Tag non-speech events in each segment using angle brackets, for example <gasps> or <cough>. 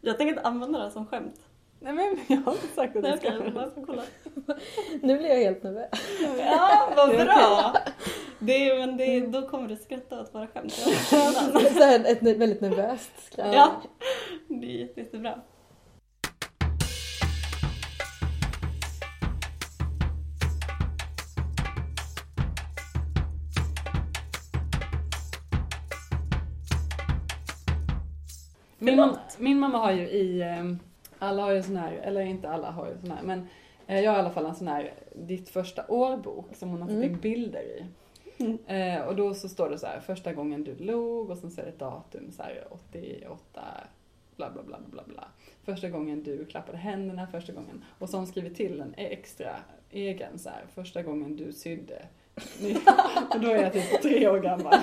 Jag tänker inte använda det här som skämt. Nej men jag har inte sagt att Nej, du ska okej, jag använda bara det. får kolla. Nu blir jag helt nervös. Ja, vad Det är bra! Det är, men det är, då kommer du skratta åt våra skämt. Mm. <laughs> Så här, ett ne- väldigt nervöst skratt. Ja, det är jätte- jättebra. Min mamma, min mamma har ju i, eh, alla har ju en sån här, eller inte alla har ju en sån här, men eh, jag har i alla fall en sån här ditt första årbok som hon har satt in Mm. bilder i. Mm. Eh, och då så står det så här, första gången du log och sen så är det ett datum så här 88 bla bla bla bla bla. Första gången du klappade händerna, första gången. Och så har hon skrivit till en extra egen så här, första gången du sydde. och då är jag typ tre år gammal.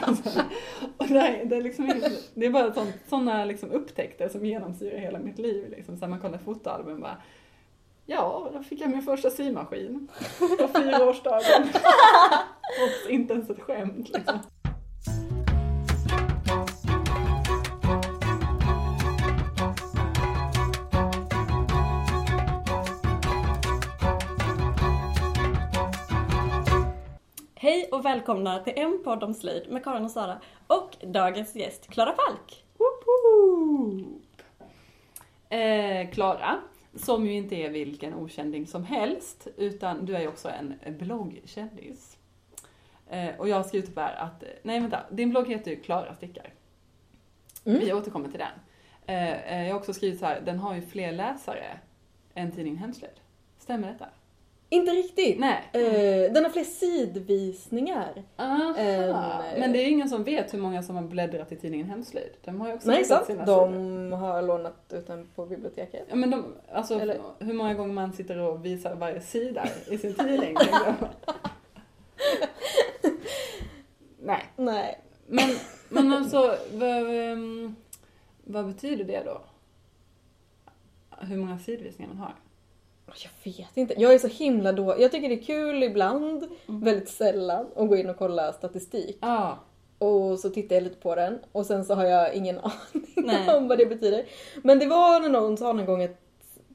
Och det, här, det, är liksom inget, det är bara sånt, såna liksom upptäckter som genomsyrar hela mitt liv. Liksom. Så här, man kollar fotoalbum och bara Ja, då fick jag min första symaskin på <laughs> fyraårsdagen. Och inte ens ett skämt liksom. Hej och välkomna till en podd om slöjd med Karin och Sara och dagens gäst Klara Falk. Woop, woop. Eh, Klara, som ju inte är vilken okänding som helst, utan du är ju också en bloggkändis. Eh, och jag har skrivit upp här att, nej vänta, din blogg heter ju Klara stickar. Mm. Vi återkommer till den. Eh, eh, jag har också skrivit så här, den har ju fler läsare än tidningen Hemslöjd. Stämmer detta? Inte riktigt. Nej. Mm. Eh, den har fler sidvisningar. Aha. Ehm, Men det är ju ingen som vet hur många som har bläddrat i tidningen Hemslöjd. De har ju också Nej, hittat sant. sina sidor. De har lånat ut den på biblioteket. Ja, men de, alltså, Eller- hur många gånger man sitter och visar varje sida i <laughs> sin tidning. liksom. Nej, Nej. men, men alltså vad, ehm, vad betyder det då? Hur många sidvisningar man har? Jag vet inte. Jag är så himla då. Jag tycker det är kul ibland, Mm. väldigt sällan, att gå in och kolla statistik. Ja, Och så tittar jag lite på den och sen så har jag ingen <laughs> aning Nej. om vad det betyder. Men det var när någon sa någon gång att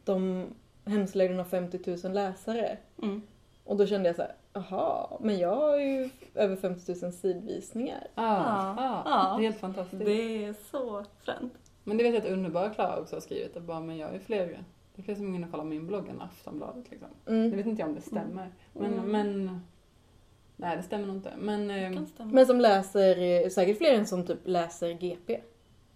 de hemslöjden har 50 000 läsare. Mm. Och då kände jag så här, jaha, men jag har ju över 50 000 sidvisningar. ja, Ja, ja, ja. det är helt fantastiskt. Det är så fränt. Men det vet jag att underbara Klara också har skrivit. Att bara, men jag är fler, det är fler som går in och kollar min blogg än Aftonbladet. Liksom. Jag Mm. vet inte om det stämmer. Men, Mm. men nej det stämmer nog inte. Men, Det ehm, kan stämma. Men som läser, eh, säkert fler än som typ läser GP.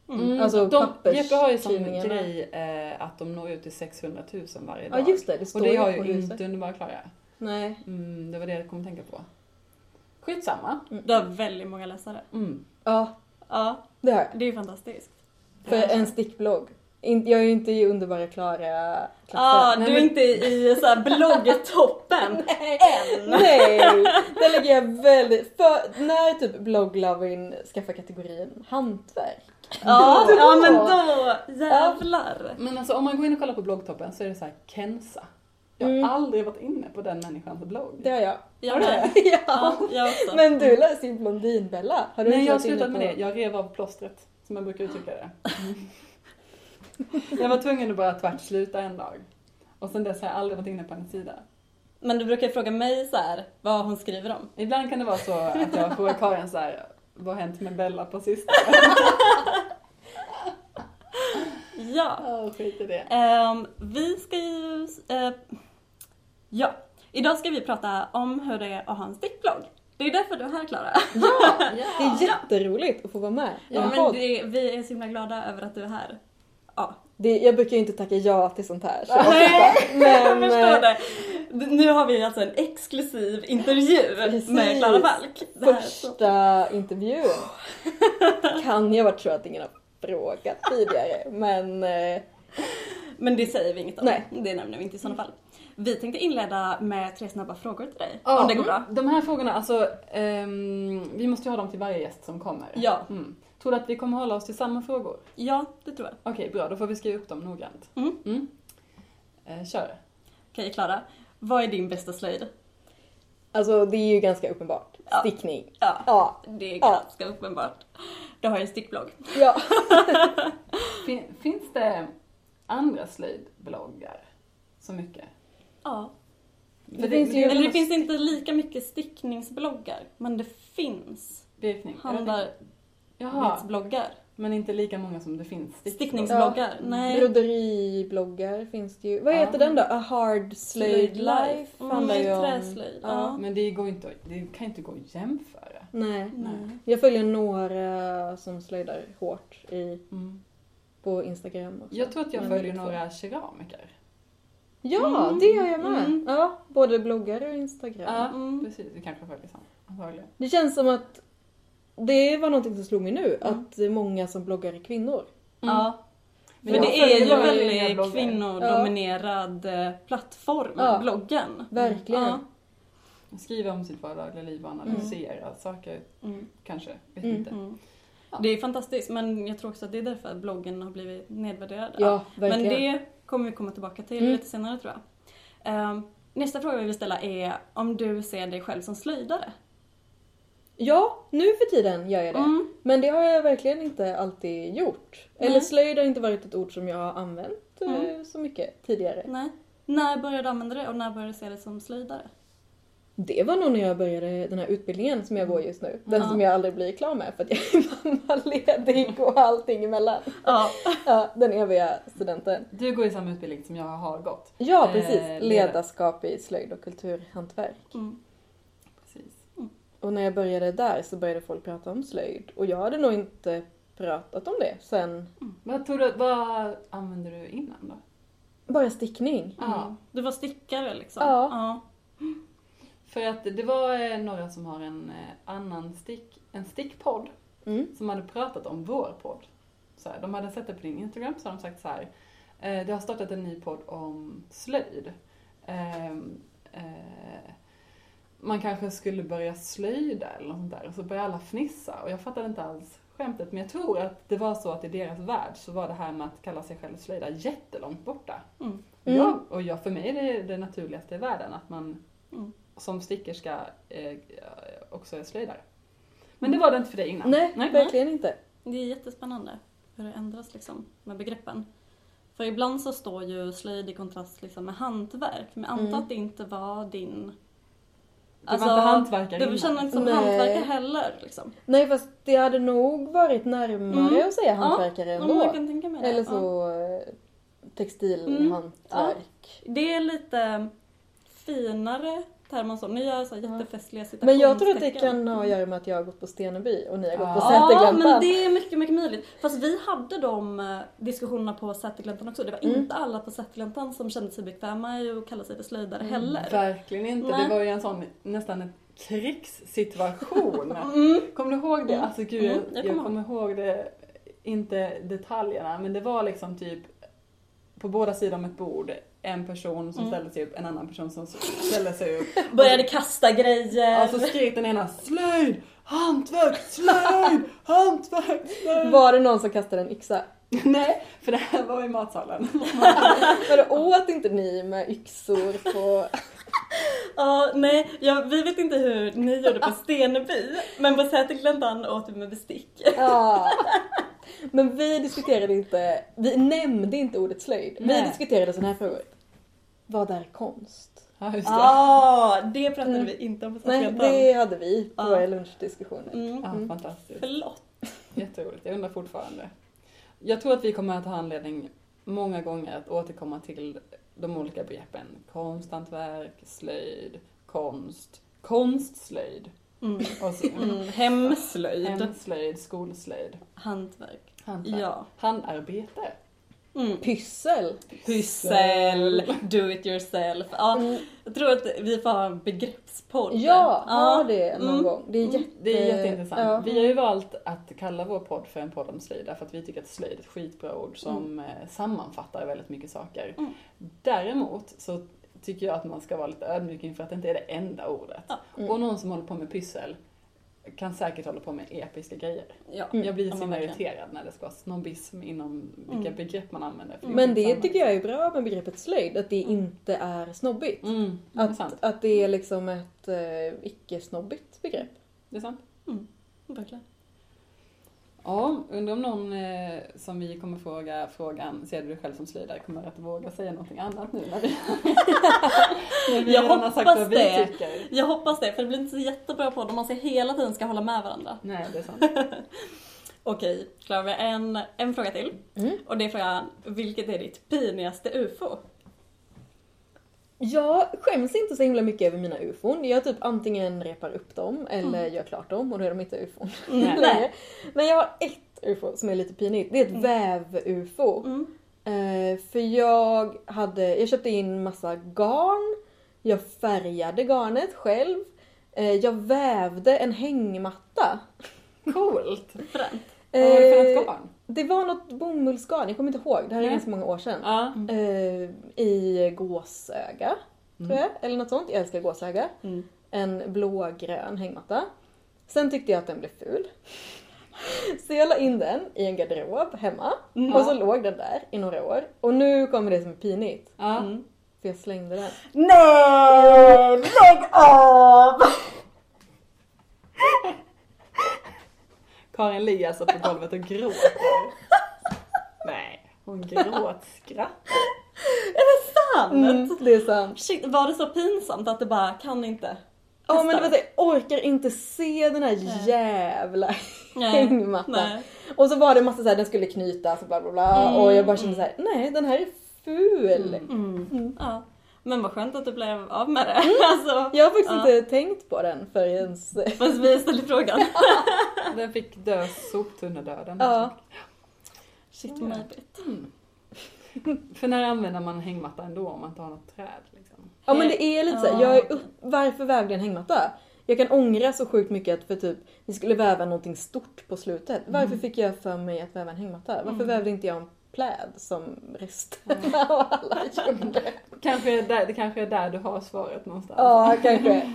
Mm. Alltså de, pappers- Jeppe har ju som tidningarna. grej eh, att de når ut till 600 000 varje Ja dag. just det, det och står det har på ju huset. inte Underbara Klara. Nej. Mm, det var det jag kom att tänka på. Skitsamma. Du har väldigt många läsare. Mm. Mm. Ja, Ja, det har jag. det är ju fantastiskt. För en stickblogg. In- Jag är ju inte i underbara Klara-klassen. Ja, Nej, Ah, du är men- inte i så här <laughs> bloggtoppen. Än. <laughs> Nej! Där lägger jag väldigt... För när typ blogglovin skaffar kategorin hantverk. Ja, Då. ja men då jävlar. Men alltså om man går in och kollar på bloggtoppen så är det så här Kenza. Jag har Mm. aldrig varit inne på den människans blogg. Det har jag. Jag med. <laughs> ja. Ja, jag också. Men du läser ju Blondinbella. Har du Nej inte jag har varit inne slutat med på- det. Jag rev av plåstret. Som jag brukar uttrycka <laughs> det. jag var tvungen att bara tvärt sluta en dag. Och sen dess har jag aldrig varit inne på en sida. Men du brukar ju fråga mig så här, vad hon skriver om. Ibland kan det vara så att jag frågar Karin så här, vad har hänt med Bella på sistone? Ja. Ja, skit i det. Ehm, vi ska ju... eh, ja. Idag ska vi prata om hur det är att ha en stickblogg. Det är därför du är här Klara. Ja! Det Ja. är jätteroligt att få vara med i Ja, en men podd. det, vi är så himla glada över att du är här. Ja. Det, jag brukar ju inte tacka ja till sånt här. Så <laughs> Nej, jag men, förstår eh, det. Nu har vi alltså en exklusiv intervju Precis. med Klara Falk. Det här är så- <laughs> första intervjun kan jag vara tror att ingen har frågat tidigare. Men eh, Men det säger vi inget om. Nej. Det nämner vi inte i sådana fall. Vi tänkte inleda med tre snabba frågor till dig. Ja, Om det går Mm. bra. De här frågorna, alltså, ehm, vi måste ju ha dem till varje gäst som kommer. Ja. Mm. Tror du att vi kommer hålla oss till samma frågor? Ja, det tror jag. Okej, bra. Då får vi skriva upp dem noggrant. Mm. Eh, kör. Okej Klara, vad är din bästa slöjd? alltså det är ju ganska uppenbart. Ja. Stickning. Ja, Ja. det är Ja. ganska uppenbart. Du har ju en stickblogg. ja. Fin, finns det andra slöjdbloggar så mycket. Ja. För Det finns ju- Eller det något finns inte lika mycket stickningsbloggar, men det finns stickning. Jaha, handarbetsbloggar. men inte lika många som det finns Sticknings- Bloggar? Nej. Broderibloggar finns det ju. Vad Ja. heter den då? A Hard Slöjd Life Mm, handlar ju om... träslöjd. Ja. Men det, går inte, att- det kan inte gå att jämföra. Nej. Nej. Jag följer några som slöjdar hårt i, Mm. på Instagram också. Jag tror att jag Men följer det är två. några keramiker. Ja, Mm, det gör jag med. mm. Ja, både bloggar och Instagram. Ja, Mm. precis. Vi kanske följer samma. Antagligen. Det känns som att det var någonting som slog mig nu, Mm. att det är många som bloggar är kvinnor. Mm. Ja. Men Men jag det följer är ju bara väldigt egna bloggar. kvinnodominerad eh, plattform, Ja. bloggen. Verkligen. Ja. Skriva om sitt vardagliga liv och analysera saker, Mm. kanske. Vet Mm. inte. Mm. Ja. Det är fantastiskt, men jag tror också att det är därför att bloggen har blivit nedvärderad. Ja, verkligen. Men det kommer vi komma tillbaka till Mm. lite senare tror jag. Ehm, nästa fråga vi vill ställa är om du ser dig själv som slöjdare? Ja, nu för tiden gör jag det. Mm. Men det har jag verkligen inte alltid gjort. Nej. Eller slöjd har inte varit ett ord som jag har använt eh, Mm. så mycket tidigare. Nej. När började du använda det och när började du se dig som slöjdare? Det var nog när jag började den här utbildningen som jag går just nu. Den Ja. som jag aldrig blir klar med för att jag är <laughs> mammaledig och allting emellan. Ja. Ja, den eviga studenten. Du går i samma utbildning som jag har gått. Ja, Eh, precis. leda- Ledarskap i slöjd och kulturhantverk. Mm. Precis. Och när jag började där så började folk prata om slöjd och jag hade nog inte pratat om det sen. Vad, tror du, vad använde du innan då? Bara stickning. Ja. Mm. Du var stickare liksom? Ja. För att det var eh, några som har en eh, annan stick, en stickpodd Mm. som hade pratat om vår podd. Så här, de hade sett det på din Instagram så har de sagt så här. Eh, det har startat en ny podd om slöjd. Ehm, eh, man kanske skulle börja slöjda eller något sånt där. Och så började alla fnissa och jag fattade inte alls skämtet. Men jag tror att det var så att i deras värld så var det här med att kalla sig själv slöjda jättelångt borta. Mm. Mm. Ja, och jag, för mig är det det naturligaste i världen att man Mm. som stickerska eh, också är slöjdare. Men Mm. det var det inte för dig innan. Nej, verkligen inte. Det är jättespännande hur det ändras liksom med begreppen. För ibland så står ju slöjd i kontrast liksom med hantverk, men jag antar Mm. att det inte var din... Du var inte hantverkare alltså, Du känner inte som Nej. hantverkare heller liksom. Nej fast det hade nog varit närmare Mm. att säga Ja, hantverkare Om ändå. man kan tänka mig det. Eller ja. Mm. så eh, textilhantverk. Det är lite finare termer och så. Ni gör så här jättefestliga Men jag tror att det citationstecken. kan ha att göra med att jag har gått på Steneby och ni har gått på Ja, Ja, Ah, men Sätergläntan. det är mycket, mycket möjligt. Fast vi hade de eh, diskussionerna på Sätergläntan också. Det var Mm. inte alla på Sätergläntan som kände sig bekväma i att kalla sig för slöjdare Mm. heller. Verkligen inte. Nej. Det var ju en sån nästan en <laughs> krigssituation. Mm. kommer du ihåg det? Mm. Alltså gud, Mm, jag jag, jag kommer kommer ihåg det, inte detaljerna, men det var liksom typ på båda sidor om ett bord en person som Mm. ställde sig upp, en annan person som ställde sig upp. Började kasta grejer. Ja, så skrek den ena slöjd, hantverk, <laughs> slöjd, hantverk, slöjd. Var det någon som kastade en yxa? Nej, för det här var i matsalen. Vadå, åt inte ni med yxor på... <laughs> Ja, nej, ja, vi vet inte hur ni gjorde <laughs> på Steneby, men på Sätergläntan åt vi med bestick. Ja. Men vi diskuterade inte, vi nämnde inte ordet slöjd. Nej. Vi diskuterade sådana här frågor. Vad är konst? Ja, just det. Ja, Ah, det pratade Mm. vi inte om på Nej, Sätergläntan. det hade vi på Ja. våra lunchdiskussioner. Ah. Mm. Ja, fantastiskt. Förlåt. Jätteroligt, jag undrar fortfarande. Jag tror att vi kommer att ha anledning många gånger att återkomma till de olika begreppen konsthantverk, slöjd, konst, konstslöjd, Mm. och så, Mm. Hemslöjd. hemslöjd, skolslöjd, Hantverk. hantverk, Ja. handarbete. Mm. Pyssel. Pyssel, do it yourself. Ja, Mm. jag tror att vi får ha en begreppspodd. Ja, ha det någon Mm. gång. Det är, Mm. jätte... Det är jätteintressant. Eh, Ja. Vi har ju valt att kalla vår podd för en podd om slöjd därför att vi tycker att slöjd är ett skitbra ord som Mm. eh, sammanfattar väldigt mycket saker. Mm. Däremot så tycker jag att man ska vara lite ödmjuk inför att det inte är det enda ordet. Ja. Mm. Och någon som håller på med pyssel kan säkert hålla på med episka grejer. Ja. Mm. Jag blir Ja, så men verkligen. irriterad när det ska vara snobbism inom vilka Mm. begrepp man använder. för Men det skitsamma. tycker jag är bra med begreppet slöjd, att det inte är snobbigt. Mm, det är sant. Att, att det är liksom ett eh, icke-snobbigt begrepp. Det är sant. Verkligen. Ja, undrar om någon eh, som vi kommer fråga frågan, ser du dig själv som slöjdare, kommer att våga säga någonting annat nu <laughs> när vi, när vi Jag redan har sagt vad hoppas vi det. tycker. Jag hoppas det, för det blir inte så jättebra på om man ska hela tiden ska hålla med varandra. Nej, det är sant. Okej, Klara, vi har en, en fråga till. Mm. Och det är frågan, vilket är ditt pinigaste UFO? Jag skäms inte så himla mycket över mina ufon. Jag typ antingen repar upp dem eller gör klart dem och då är de inte ufon Mm. Nej. Mm. längre. <laughs> Men jag har ett ufo som är lite pinigt. Det är ett väv-ufo. Mm. Eh, för jag hade, jag köpte in massa garn. Jag färgade garnet själv. Eh, jag vävde en hängmatta. Coolt! Fränt. Vad var det för Eh, något garn? det var något bomullsgarn, jag kommer inte ihåg. Det här är Nej. ganska många år sedan. Ja. Eh, I gåsöga, tror Mm. jag. Eller något sånt. Jag älskar gåsöga. Mm. En blågrön hängmatta. Sen tyckte jag att den blev ful. <laughs> Så jag la in den i en garderob hemma. Mm. Och så låg den där i några år. Och nu kommer det som är pinigt. Ja. Mm. För jag slängde den. Nej! Lägg av! Karin ligger alltså på golvet och gråter. Nej, hon gråtskrattar. Är det sant? Mm, det är sant. Shit, var det så pinsamt att det bara kan inte? Ja Nästa. men det var så, här, jag orkar inte se den här Nej. jävla <laughs> Nej. hängmattan. Nej. Och så var det massa såhär, den skulle knytas och bla bla bla. Mm, Och jag bara kände såhär, nej den här är ful. Mm. Mm. Mm. Ja. Men vad skönt att du blev av med det. <laughs> Alltså, Jag har faktiskt Ja. inte tänkt på den förrän... fast vi ställde <laughs> frågan. Den fick dö alltså. soptunnedöden. Ja. Shit, Maj-Britt. För när använder man en hängmatta ändå om man inte har något träd? Liksom? Ja men det är lite såhär, Ja. jag är upp, varför vävde jag en hängmatta? Jag kan ångra så sjukt mycket att för typ, vi skulle väva någonting stort på slutet. Varför Mm. fick jag för mig att väva en hängmatta? Varför Mm. vävde inte jag en pläd som resten av alla gjorde? Kanske är där, det kanske är där du har svaret någonstans. Ja, kanske.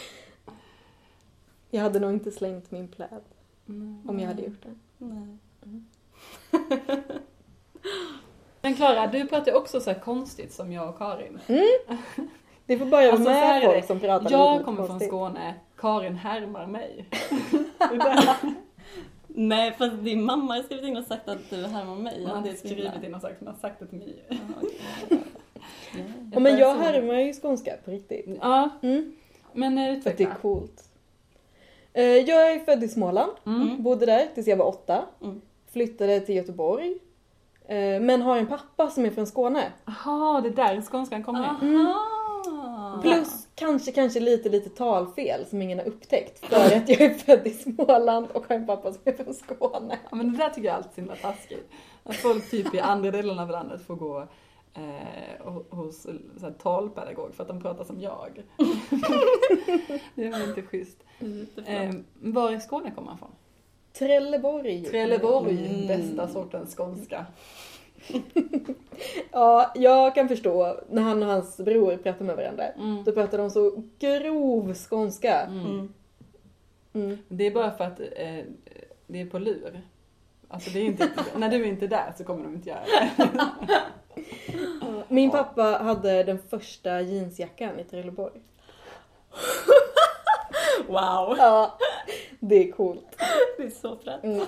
<laughs> Jag hade nog inte slängt min pläd Mm. om jag hade gjort det. Nej. Men Klara, du pratar ju också så här konstigt som jag och Karin. Det får bara vara Alltså, så här med är det. folk som pratar Jag lite kommer från konstigt. Skåne, Karin härmar <laughs> mig. Nej, fast din mamma har skrivit in och sagt att du härmar mig. Jag Ja, har det inte är skrivit skrivit in. in och sagt, men jag har sagt det till mig. <laughs> Ja, men börjar jag så- härmar ju skånska på riktigt. Ja, Mm, men eh, för att det är utveckla. coolt. Eh, Jag är född i Småland, Mm. bodde där tills jag var åtta. Mm. Flyttade till Göteborg. eh, Men har en pappa som är från Skåne. Jaha, det är där skånskan kommer in. Aha! Mm. Plus kanske, kanske lite, lite talfel som ingen har upptäckt. För att jag är född i Småland och har en pappa som är från Skåne. Ja, men det där tycker jag alltid är så himla taskigt. Att folk typ i andra delen av landet får gå eh, ho- hos så här, talpedagog för att de pratar som jag. det är väl inte schysst. Ehm. Eh, var i Skåne kommer man från? Trelleborg. Trelleborg, Mm. bästa sortens skånska. Ja, jag kan förstå när han och hans bror pratar med varandra. Mm. Då pratar de så grov skånska. Mm. Mm. Mm. Det är bara för att eh, det är på lur. Alltså det är inte, när du inte är där så kommer de inte göra det. Min pappa hade den första jeansjackan i Trelleborg. Wow, Ja, det är coolt. det är så fränt. Mm.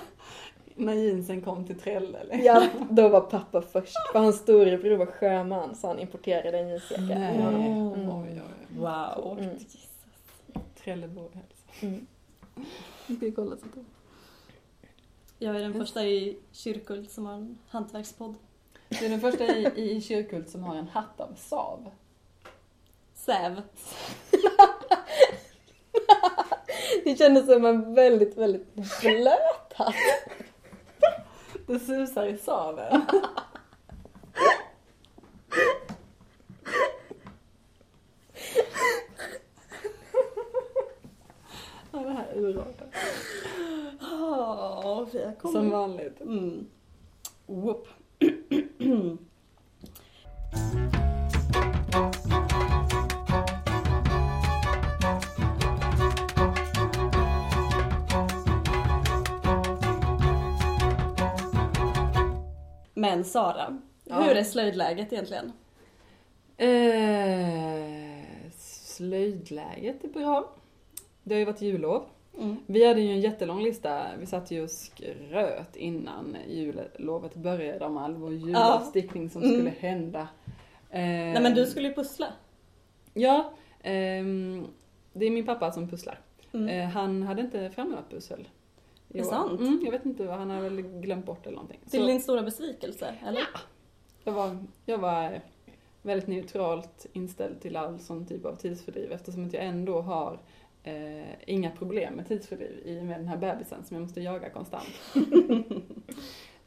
När jeansen kom till Trell eller? Ja, då var pappa först. För hans storebror var sjöman så han importerade en jeansjacka. Nej. Mm. Oj, oj, oj. Wow. Mm. Trelleborg hälsa. Mm. Vi kollar så då. Jag är den första i Kyrkult som har en hantverkspodd. Du är den första i, i, i Kyrkult som har en hatt av sav. Säv. Det kändes som en väldigt, väldigt blöt hatt. Det susar i saven. ja, det här urartar. Oh, vi har kommit. Som vanligt. Mm. Whoop. Men Sara, Ja. hur är slöjdläget egentligen? Eh, slöjdläget är bra. Det har ju varit jullov. Mm. Vi hade ju en jättelång lista. Vi satt ju och skröt innan jullovet började om all vår julavstickning som Mm. skulle hända. Eh, Nej men du skulle ju pussla. Ja, ehm, det är min pappa som pusslar. Mm. Eh, han hade inte fram några pussel. i Är det år. sant? Mm, jag vet inte, vad, han har väl glömt bort eller någonting. Till Så din stora besvikelse, eller? jag, var, jag var väldigt neutralt inställd till all sån typ av tidsfördriv eftersom att jag ändå har eh, inga problem med tidsfördriv i och med den här bebisen som jag måste jaga konstant. <laughs>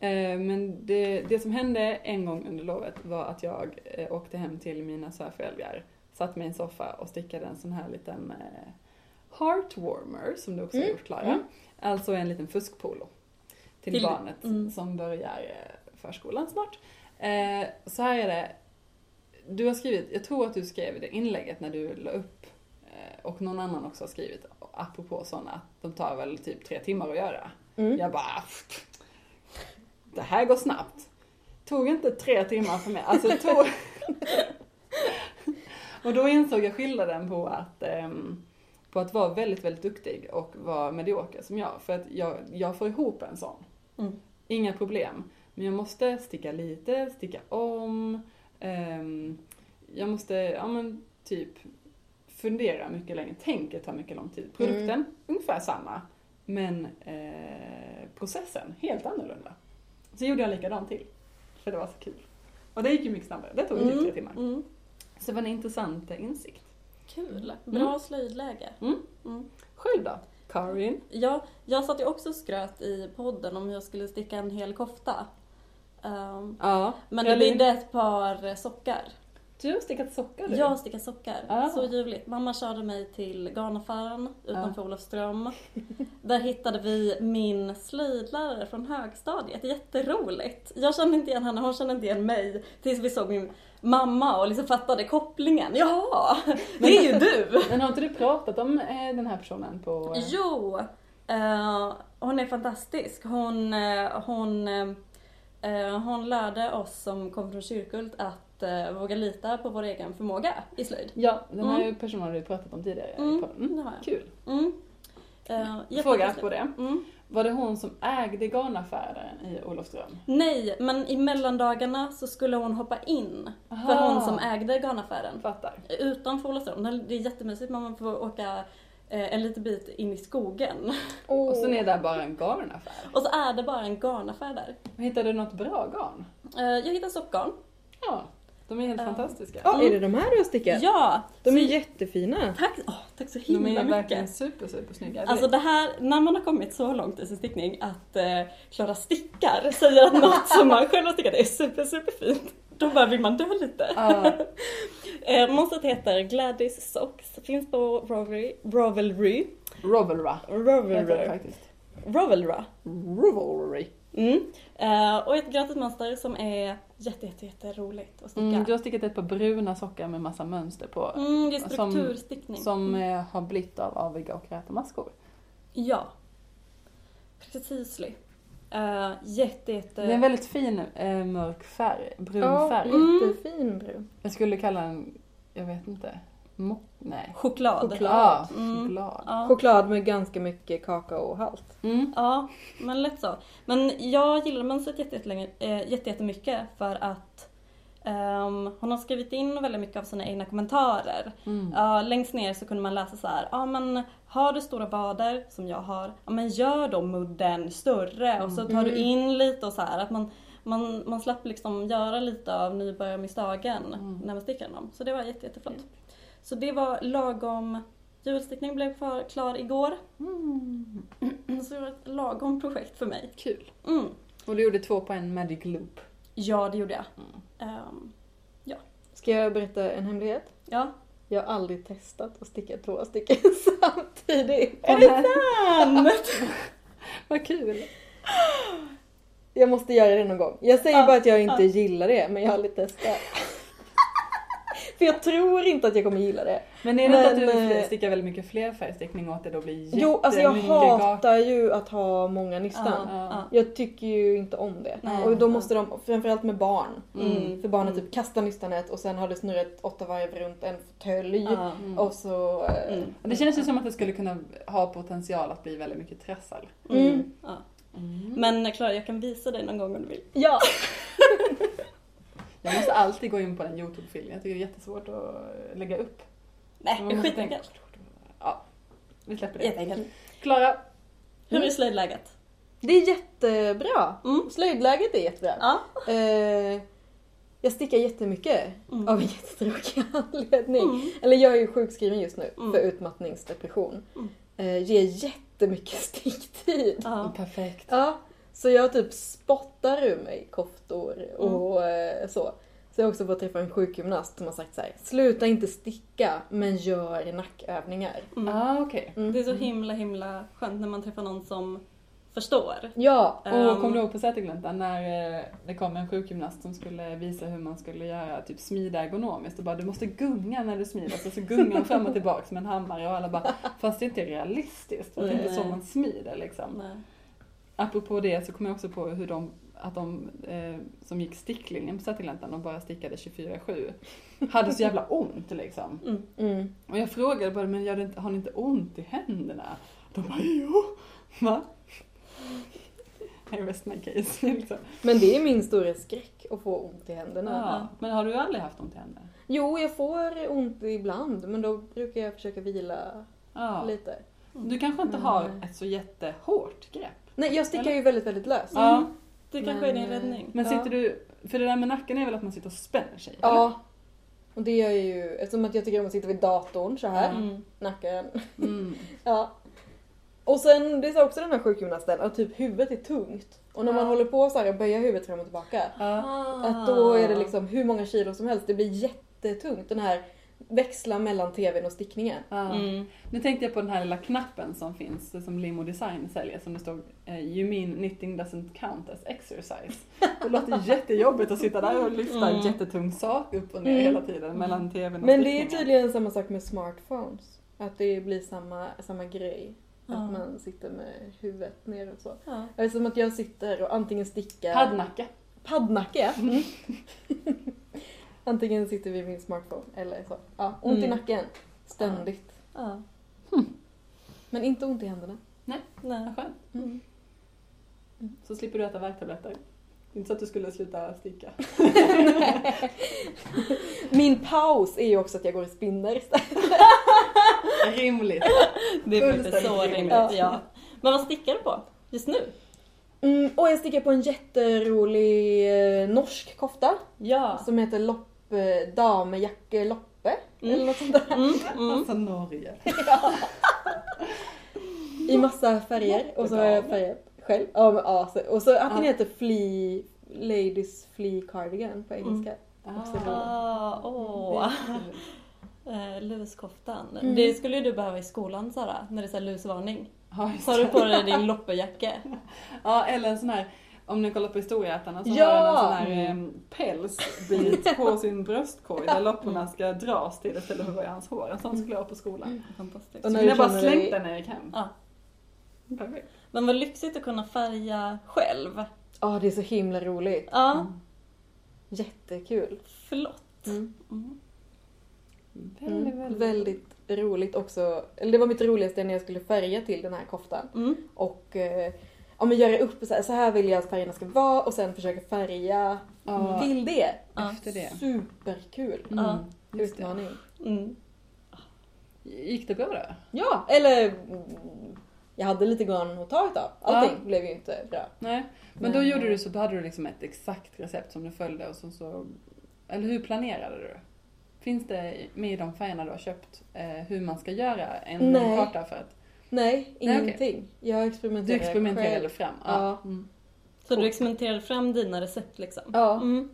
Eh, Men det, det som hände en gång under lovet var att jag eh, åkte hem till mina svärföräldrar, satt mig i en soffa och stickade en sån här liten eh, heartwarmer, som du också har Mm, gjort Klara. mm. Alltså en liten fuskpolo till, Till- barnet mm. som börjar eh, förskolan snart. Eh, Så här är det, du har skrivit, jag tror att du skrev i det inlägget när du la upp eh, och någon annan också har skrivit, apropå sådana, att de tar väl typ tre timmar att göra. Mm. Jag bara, "Pff, det här går snabbt. Tog inte tre timmar för mig. Alltså, det tog... <laughs> och då insåg jag skillnaden på att, ehm, på att vara väldigt, väldigt duktig och vara medioker som jag. För att jag, jag får ihop en sån. Mm. Inga problem. Men jag måste sticka lite, sticka om. ehm, jag måste, ja men typ fundera mycket länge. Tänket tar mycket lång tid. Produkten, ungefär samma. Men eh, processen, helt annorlunda. Så gjorde jag likadant till. För det var så kul. Och det gick ju mycket snabbare. Det tog ju typ tre timmar. Mm. Så det var en intressant eh, insikt. Kul. Bra slöjdläge. Mm. Mm. Själv då? Karin? Jag, jag satt ju också och skröt i podden om jag skulle sticka en hel kofta. Ehm, Ja. men det Elin? bidde ett par sockar. Du har stickat sockar du? Jag har stickat sockar. Ah. Så ljuvligt. Mamma körde mig till garnaffären utanför Olofström. Där hittade vi min slöjdlärare från högstadiet. Jätteroligt. Jag kände inte igen henne, hon kände inte igen mig. Tills vi såg min mamma och liksom fattade kopplingen. Jaha, det är ju du! Men har inte du pratat om eh, den här personen på... eh, Jo! eh, hon är fantastisk. Hon, eh, hon, eh, hon lärde oss som kom från Kyrkult att eh, våga lita på vår egen förmåga i slöjd. Ja, den här Mm. personen har du pratat om tidigare i Mm, podden. Mm. det har jag. Kul. Mm. Eh, Fråga jättetrevligt. på det. Mm. Var det hon som ägde garnaffären i Olofström? Nej, men i mellandagarna så skulle hon hoppa in för Aha. hon som ägde garnaffären. Fattar. Utanför Olofström. Det är jättemysigt, man får åka eh, en liten bit in i skogen. <laughs> Och sen är det bara en garnaffär. Och så är det bara en garnaffär där. Hittade du något bra garn? Eh, jag hittade soppgarn. Ja, de är helt Ja. fantastiska. Ja, är det de här du har stickat? Ja! De är jättefina. Tack, åh, tack så De himla är verkligen mycket. super, super snygga. Alltså det här, när man har kommit så långt i sin stickning att eh, Klara stickar säger att något som man själv har stickat är super, super fint. Då bara vill man dö lite. Ja, <laughs> Eh, monstret heter Gladys Socks, finns på Ravelry. Ravelry. Rovelra heter det Ravelry. faktiskt. Ravelra. Rovelry. Mm. Eh, och ett gratis mönster som är jätte, jätte, jätte roligt att Mm, du sticka. har stickat ett par bruna sockar med massa mönster på. Mm, det är Som- strukturstickning. Mm. Som eh, har blivit av aviga och räta maskor. Ja. Precis. Eh, jätte, jätte... Det är en väldigt fin eh, mörk färg, brun Ja, färg. Mm. jättefin brun. Jag skulle kalla den, jag vet inte, mock, nej. Choklad. Choklad. Ja, Mm. choklad. Ja. Choklad med ganska mycket kakaohalt. Mm. Ja, men lätt så. Men jag gillar mönstret jätte, jättelänge- eh, jätte, jättemycket för att ehm, hon har skrivit in väldigt mycket av sina egna kommentarer. Mm. Ja, längst ner så kunde man läsa så här, ja men har du stora vader som jag har, ja men gör då mudden större och så tar du in lite och så här att man, man, man slapp liksom göra lite av nybörjarmisstagen när man stickade dem. Så det var jätte, jätteflott. Så det var lagom, julstickning blev klar- klar igår. Mm. Så det var ett lagom projekt för mig. Kul. Mm. Och du gjorde två på en Magic Loop. Ja, det gjorde jag. Mm. Ehm, Ska jag berätta en hemlighet? ja. Jag har aldrig testat att sticka två stycken <laughs> samtidigt. Är <laughs> det <laughs> Vad kul! Jag måste göra det någon gång. Jag säger Ja, bara att jag inte ja. <laughs> gillar det, men jag har aldrig testat. För jag tror inte att jag kommer gilla det. Men är det inte att Men, du eh, stickar väldigt mycket fler färgstickning och att det då blir jättemycket Jo, alltså jag gap? hatar ju att ha många nystan. Ja, Jag tycker ju inte om det. Nej. och då måste de, framförallt med barn. Mm. För barnen Mm. typ kastar nystanet och sen har det snurrat åtta varv runt en fåtölj. ja. Mm. Och så... eh, Mm. Det känns ju som att det skulle kunna ha potential att bli väldigt mycket trassel. Mm. Mm. Ja. Mm. Men eh, Klara, jag kan visa dig någon gång om du vill. Ja! Jag måste alltid gå in på den Youtube-filmen. Jag tycker det är jättesvårt att lägga upp. Nej, Man måste tänka- skitenkelt. Ja, vi släpper det. Jätteenkelt. Klara, Hur är slöjdläget? Det är jättebra. Mm. Slöjdläget är jättebra. Ja. Eh, jag stickar jättemycket Mm. av en jättetråkig <laughs> anledning. Mm. Eller jag är ju sjukskriven just nu Mm. för utmattningsdepression. Mm. Eh, ger jättemycket <laughs> sticktid. Ja. perfekt. Ja, så jag typ spottar ur mig koftor Mm. och eh, så. Så jag har också fått träffa en sjukgymnast som har sagt så här: sluta inte sticka men gör nackövningar. Mm. Ah, okej. Mm. Det är så himla himla skönt när man träffar någon som förstår. Ja, Och Ehm, kom du ihåg på Sätergläntan när eh, det kom en sjukgymnast som skulle visa hur man skulle göra, typ smida ergonomiskt och bara du måste gunga när du smider. Så, så gungar hon fram och tillbaks med en hammare och alla bara fast det är inte realistiskt för det är inte så Nej. man smider liksom. Nej. Apropå det så kom jag också på hur de, att de eh, som gick sticklinjen på Sätergläntan och bara stickade 24-7 hade så jävla ont liksom. Mm. mm. Och jag frågade bara men gör det inte, har ni inte ont i händerna? De bara jo. Va? I rest my case liksom. Men det är min stora skräck att få ont i händerna. Ja, men har du aldrig haft ont i händerna? Jo, jag får ont ibland men då brukar jag försöka vila Ja. lite. Du kanske inte Mm. har ett så jättehårt grepp. Nej, jag stickar ju väldigt, väldigt löst. Ja. Det kanske är Men, din eh, räddning. Men Ja. sitter du... För det där med nacken är väl att man sitter och spänner sig? Ja. Och det gör jag ju, eftersom att jag tycker om att sitta vid datorn så här. Mm. Nacken. <laughs> eller? Mm. Ja. Och sen, det sa också den här sjukgymnasten, att typ huvudet är tungt. Och när man Ja. håller på så här och böjer huvudet fram och tillbaka. Ja. Att då är det Ah. liksom hur många kilo som helst, det blir jättetungt. Den här växla mellan tvn och stickningen. Ja. Mm. Nu tänkte jag på den här lilla knappen som finns, som Limo Design säljer, som det står eh, You mean knitting doesn't count as exercise. Det låter <laughs> jättejobbigt att sitta där och lyfta Mm. en jättetung sak upp och ner Mm. hela tiden mellan tvn och Men det är stickningen. tydligen samma sak med smartphones. Att det blir samma, samma grej. Ja. Att man sitter med huvudet ner och så. Ja. Det är som att jag sitter och antingen stickar... Paddnacke. Paddnacke, ja. Mm. <laughs> Antingen sitter vi vid min smartphone eller så. Ja, ont i Mm. nacken. Ständigt. Ja. Men inte ont <laughs> i händerna. <laughs> Nej. Vad skönt. Mm. Så slipper du äta värktabletter. Inte så att du skulle sluta sticka. Min paus är ju också att jag går och spinner istället. Rimligt. Det är faktiskt så Fullständigt rimligt. rimligt. Ja. Men vad stickar du på just nu? Mm, och jag stickar på en jätterolig eh, norsk kofta Ja. som heter Lopp, eh, Damejakke Loppe. Eller något sånt där. Mm. Mm. Alltså Norge. I massa färger. Och så har jag färgat själv. Ja, men, ja, så, och så att den Ja. heter Flea, Ladies Flea Cardigan på Mm. engelska. Också roligt. Ah, åh. Eh, luskoftan. Det skulle ju du behöva i skolan Sara, när det är så här lusvarning. Ja, just Så har du det. på dig din loppejacka. ja, eller en sån här, om ni kollar på Historieätarna så Ja! har den en sån här eh, pälsbit på sin bröstkorg där lopporna ska dras till istället för att vara i hans hår. En sån skulle jag ha på Mm. skolan. Fantastiskt. Och Så när jag du bara känner slängt dig- den när jag gick hem. Ja. Perfekt. Men vad lyxigt att kunna färga själv. Ja, det är så himla roligt. Ja, Mm. Jättekul. flott. Mm. Väldigt, väldigt. Mm. Väldigt roligt också. Eller det var mitt roligaste när jag skulle färga till den här koftan. Mm. Och eh, ja, men göra upp så här, så här vill jag att färgerna ska vara och sen försöka färga Mm. Ja, till det. Ja. efter det. Superkul Ja. just det. utmaning. Mm. Gick det bra då? Ja, eller mm, jag hade lite garn att ta utav. Allting Ja. blev ju inte bra. Nej, men då Nej. gjorde du så, då hade du liksom ett exakt recept som du följde och som så... Eller hur planerade du? Finns det med i de färgerna du har köpt eh, hur man ska göra en Nej. karta för att... Nej, Nej, okej. ingenting. Jag Du experimenterade experimenterade själv. fram? Ja. Mm. Så du experimenterade fram dina recept liksom? Ja. Mm.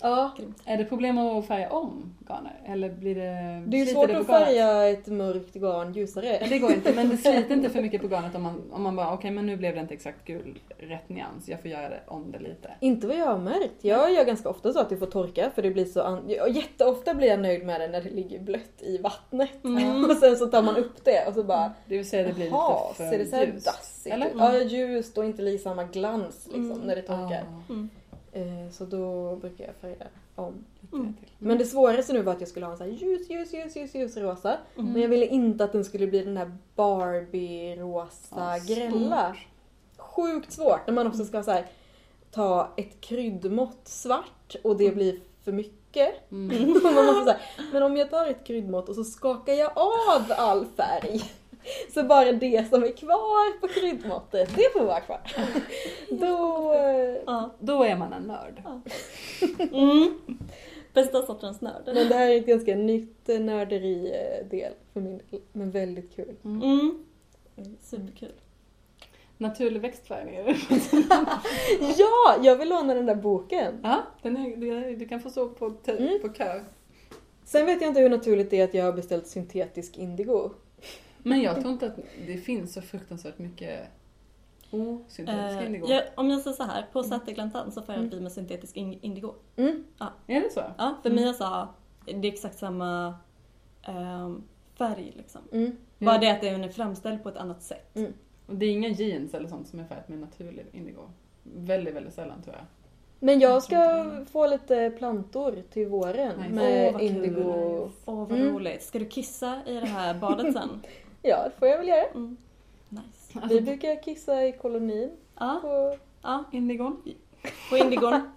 Ja. Är det problem att färga om garner? Eller blir det... Det är ju sliter svårt på att garnet? färga ett mörkt garn ljusare. Men det går inte, men det sliter inte för mycket på garnet om man, om man bara okej men nu blev det inte exakt gul, rätt nyans, jag får göra det, om det lite. <laughs> Inte vad jag har märkt. Jag gör ganska ofta så att det får torka för det blir så... An... ja, Jätteofta blir jag nöjd med det när det ligger blött i vattnet. Mm. <laughs> Och sen så tar man upp det och så bara... Det vill säga det blir Jaha, lite för ser det så här ljust. dassigt eller? Mm. ut? Ja, ljust och inte lika samma glans liksom Mm. när det torkar. Ah, Mm. Eh, Så då brukar jag färga om. lite Mm. till. Men det svåraste nu var att jag skulle ha en så här ljus, ljus, ljus, ljus, ljus rosa. Mm. Men jag ville inte att den skulle bli den här Barbie-rosa Ja, grälla. Sjukt svårt när man också ska så här, ta ett kryddmått svart och det blir för mycket. <laughs> Mm. Och man måste så här, men om jag tar ett kryddmått och så skakar jag av all färg. Så bara det som är kvar på kryddmåttet, det får vara kvar. Då... eh, Ja. Då är man en nörd. Mm. Bästa sortens nörd. Men det här är ett ganska nytt eh, nörderi-del för min del, men väldigt kul. Mm. Mm. Superkul. Naturlig <laughs> växtfärg. Ja, jag vill låna den där boken! Ja, den är, du- du kan få stå på, t- Mm. på kö. Sen vet jag inte hur naturligt det är att jag har beställt syntetisk indigo. Men jag tror inte att det finns så fruktansvärt mycket osyntetisk Eh, indigo. jag, om jag säger så här, på Sätergläntan så färgade vi med syntetisk in- indigo. Mm. Är det så? Ja, för Mia sa det är exakt samma ehm, färg liksom. Mm. Bara det att den är framställd på ett annat sätt. Och det är inga jeans eller sånt som är färgat med naturlig indigo. Väldigt, väldigt sällan tror jag. Men jag ska få lite plantor till våren Nice. Åh, med vad kul. indigo. Åh vad Mm. roligt. Ska du kissa i det här badet sen? Ja, det får jag väl göra. Mm. Nice. Alltså, Vi brukar kissa i kolonin Alltså, Ja, på, ja. Indigon? På indigon. <laughs>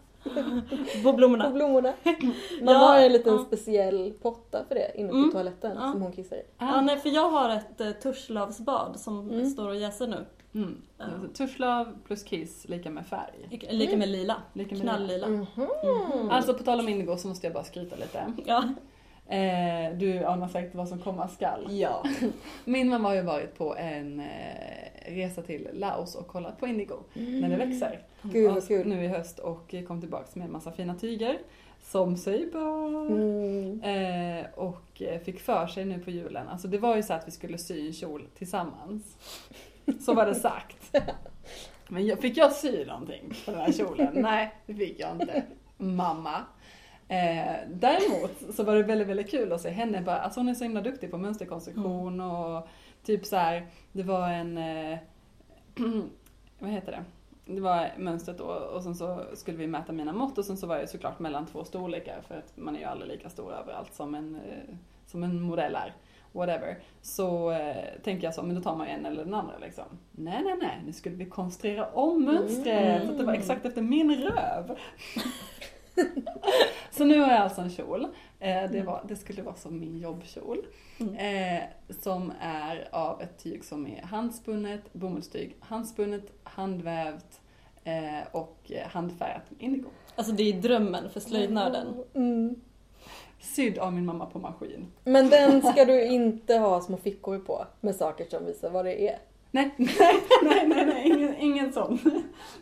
på blommorna. på <laughs> blommorna. Man Ja, har en liten ja. speciell potta för det inne på Mm. toaletten Ja. som hon kissar i. Ah. Ja, nej, för jag har ett eh, Torslavsbad som Mm. står och jäser nu. Mm. Alltså, Tuschlav plus kiss lika med färg. Eh, Lika med lila. Lika med Knalllila. Mhm. Alltså på tal om indigo så måste jag bara skryta lite. Ja. Eh, du anar säkert vad som komma skall. ja. <laughs> Min mamma har ju varit på en eh, resa till Laos och kollat på indigo när det växer. Mm. Gud vad Och kul. Nu i höst och kom tillbaks med en massa fina tyger. Som sig bör. Mm. Eh, och eh, fick för sig nu på julen. Alltså det var ju så att vi skulle sy en kjol tillsammans. Så var det sagt. Men jag, fick jag sy någonting på den här kjolen? Nej, det fick jag inte. Mamma. Eh, däremot så var det väldigt, väldigt kul att se henne. Bara, alltså hon är så himla duktig på mönsterkonstruktion och typ så här. Det var en... Eh, <clears throat> vad heter det? Det var mönstret då och sen så skulle vi mäta mina mått och sen så var jag såklart mellan två storlekar för att man är ju aldrig lika stor överallt som en, eh, som en modell är. Whatever. Så eh, tänker jag så, men då tar man ju en eller den andra liksom. Nej, nej, nej, nu skulle vi konstruera om mönstret så att det var exakt efter min röv. så nu har jag alltså en kjol. Eh, det, var, det skulle vara som min jobbkjol. Mm. Eh, som är av ett tyg som är handspunnet, bomullstyg, handspunnet, handvävt eh, och eh, handfärgat med indigo. Alltså det är drömmen för slöjdnörden. Mm. Sydd av min mamma på maskin. Men den ska du inte ha små fickor på med saker som visar vad det är. Nej, <laughs> nej, nej, nej, nej ingen, ingen sån.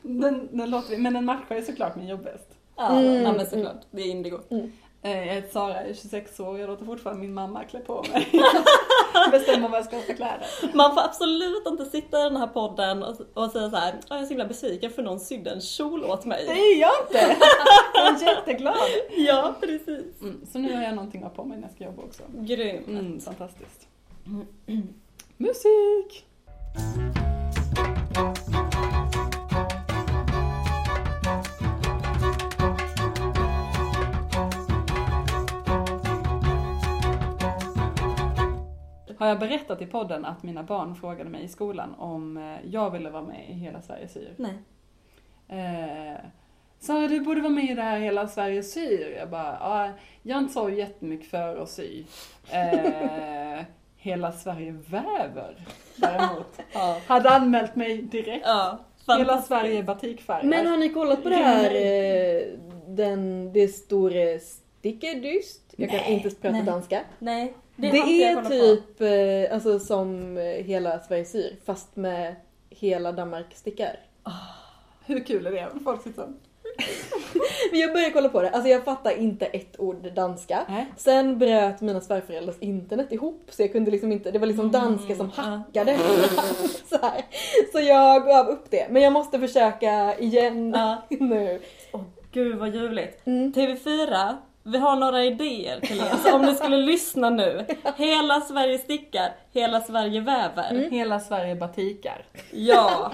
Den, den låter vi, men den matchar ju såklart min jobbväst. Ja, Mm. nej, men såklart. Det är indigo. Eh, Jag heter Sara, jag är 26 år, jag låter fortfarande min mamma klä på <laughs> mig. Bestämma vad jag ska ha för kläder. Man får absolut inte sitta i den här podden och, och säga så här, "Ah, jag är så himla besviken för någon sydde en kjol åt Det mig. är jag inte! Jag är jätteglad. Ja, precis. Mm, så nu har jag någonting att ha på mig när jag ska jobba också. Grymt. Mm, fantastiskt. Musik! Har jag berättat i podden att mina barn frågade mig i skolan om eh, jag ville vara med i Hela Sverige syr? Nej. Eh, Sara du borde vara med i det här Hela Sverige syr. Jag bara, ja, jag är inte så jättemycket för att sy. Eh, <laughs> hela Sverige väver <laughs> däremot. Ja. Hade anmält mig direkt. ja Hela fantastiskt. Sverige batikfärger. Men har ni kollat på det här, eh, den, det store Stickerdyst? Jag kan Nej, inte prata nej. danska. Nej. Det, har inte jag är kollat typ eh, alltså, som eh, hela Sverige syr fast med hela Danmark stickar. Hur kul är det? Folk sitter så- Men jag började kolla på det, alltså jag fattar inte ett ord danska. Nej. Sen bröt mina svärföräldrars internet ihop så jag kunde liksom inte, det var Mm, liksom danska som hackade. <laughs> så, här. så jag gav upp det. Men jag måste försöka igen Ja. <laughs> nu. Åh gud vad ljuvligt. Mm. TV4, vi har några idéer till er. Så om ni skulle lyssna nu. Hela Sverige stickar, hela Sverige väver. Hela Sverige batikar. Ja.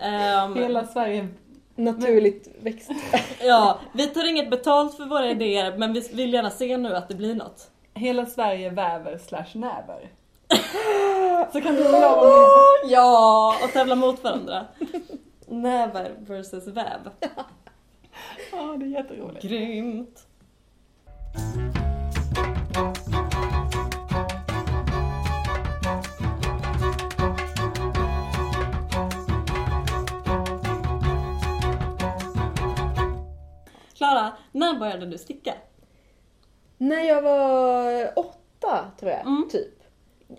Ehm, Hela Sverige... Naturligt växt. ja. Vi tar inget betalt för våra idéer men vi vill gärna se nu att det blir något. Hela Sverige väver slash <gasps> näver. Så kan du hålla av om Ja! Och tävla mot varandra. Näver versus väv. det. Ja, det är jätteroligt. Grymt! Klara, när började du sticka? När jag var åtta tror jag, Mm. typ.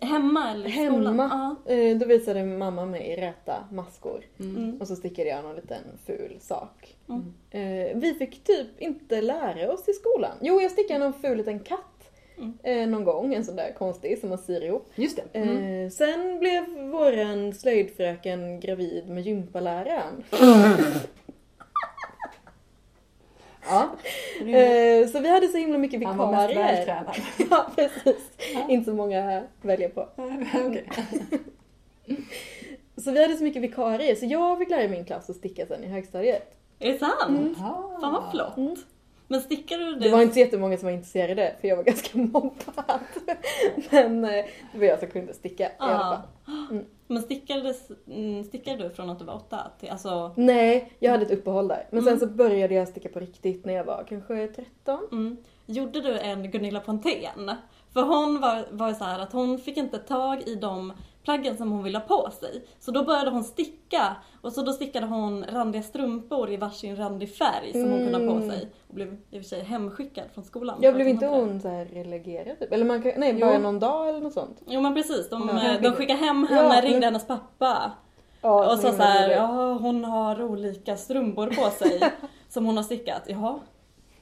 Hemma eller i skolan? Hemma. Eh, Då visade mamma mig räta maskor. Ja. Mm. Mm. Och så stickade jag någon liten ful sak. Mm. Eh, Vi fick typ inte lära oss i skolan. Jo, jag stickade någon ful liten katt. Mm. eh, Någon gång, en sån där konstig som man syr ihop. Just det. Eh, Mm. Sen blev våran slöjdfröken gravid med <laughs> gympaläraren. ja. Eh, Så vi hade så himla mycket Mm. Han var mest vikarier. vältränad. <laughs> Ja, precis. Inte så många att välja på. <laughs> Okej. Så vi hade så mycket vikarier, så jag fick lära mig min klass att sticka sen i högstadiet. Är det sant? Ah. Fan vad flott! Mm. Men stickade du Det var inte så jättemånga som var intresserade, för jag var <laughs> ganska mobbad. Men eh, det var jag som kunde sticka i alla Ja. fall. Men stickades, mm, stickade du från att du var åtta? Till, alltså, Nej, jag hade ett uppehåll där. Men sen Mm. så började jag sticka på riktigt när jag var kanske 13. Mm. Gjorde du en Gunilla Pontén? För hon var, var ju så här att hon fick inte tag i de plaggen som hon ville ha på sig. Så då började hon sticka och så då stickade hon randiga strumpor i varsin randig färg som hon kunde ha på Mm. sig. Och blev i och för sig hemskickad från skolan. för Jag att blev hon inte hade det. hon så här relegerad typ? Eller man kan, nej, bara Jo. någon dag eller något sånt. Jo men precis, de, Ja. eh, de skickade hem henne, Ja. ringde hennes pappa Ja, och sa himla så här, roligt. ja hon har olika strumpor på <laughs> sig som hon har stickat. Jaha.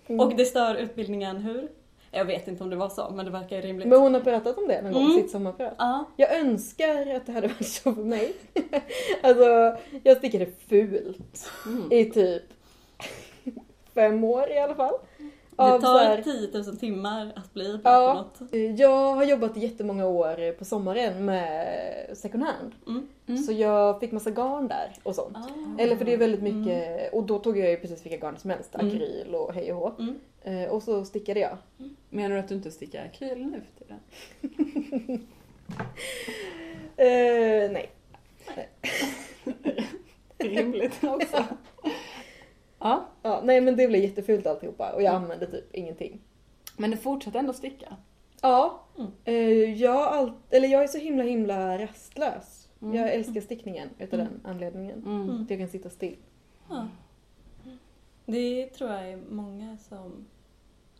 Mm. Och det stör utbildningen hur? Jag vet inte om det var så men det verkar ju rimligt. Men hon har pratat om det någon gång i Mm. sitt sommarprat. Ja. Jag önskar att det hade varit så för mig. <laughs> alltså, jag stickade fult Mm. i typ fem år i alla fall. Det Av så tar här- 10 000 timmar att bli bra Ja. på något. Jag har jobbat jättemånga år på sommaren med second hand. Mm. Ah. Mm. Så jag fick massa garn där och sånt. Eller för det är väldigt mycket, och då tog jag ju precis vilka garn som helst. Mm. Akryl och hej och hå. Mm. Eh, Och så stickade jag. Menar du att du inte stickar akryl nu <laughs> för tiden? Eh, nej. Rimligt <laughs> också. ja, Ja, nej men det blev jättefult alltihopa och jag Mm. använde typ ingenting. men du fortsätter ändå sticka. Ja. Mm. Eh, jag, har all, eller jag är så himla himla rastlös. Mm. Jag älskar stickningen utav Mm. den anledningen. Mm. Att jag kan sitta still. Ja. Det tror jag är många som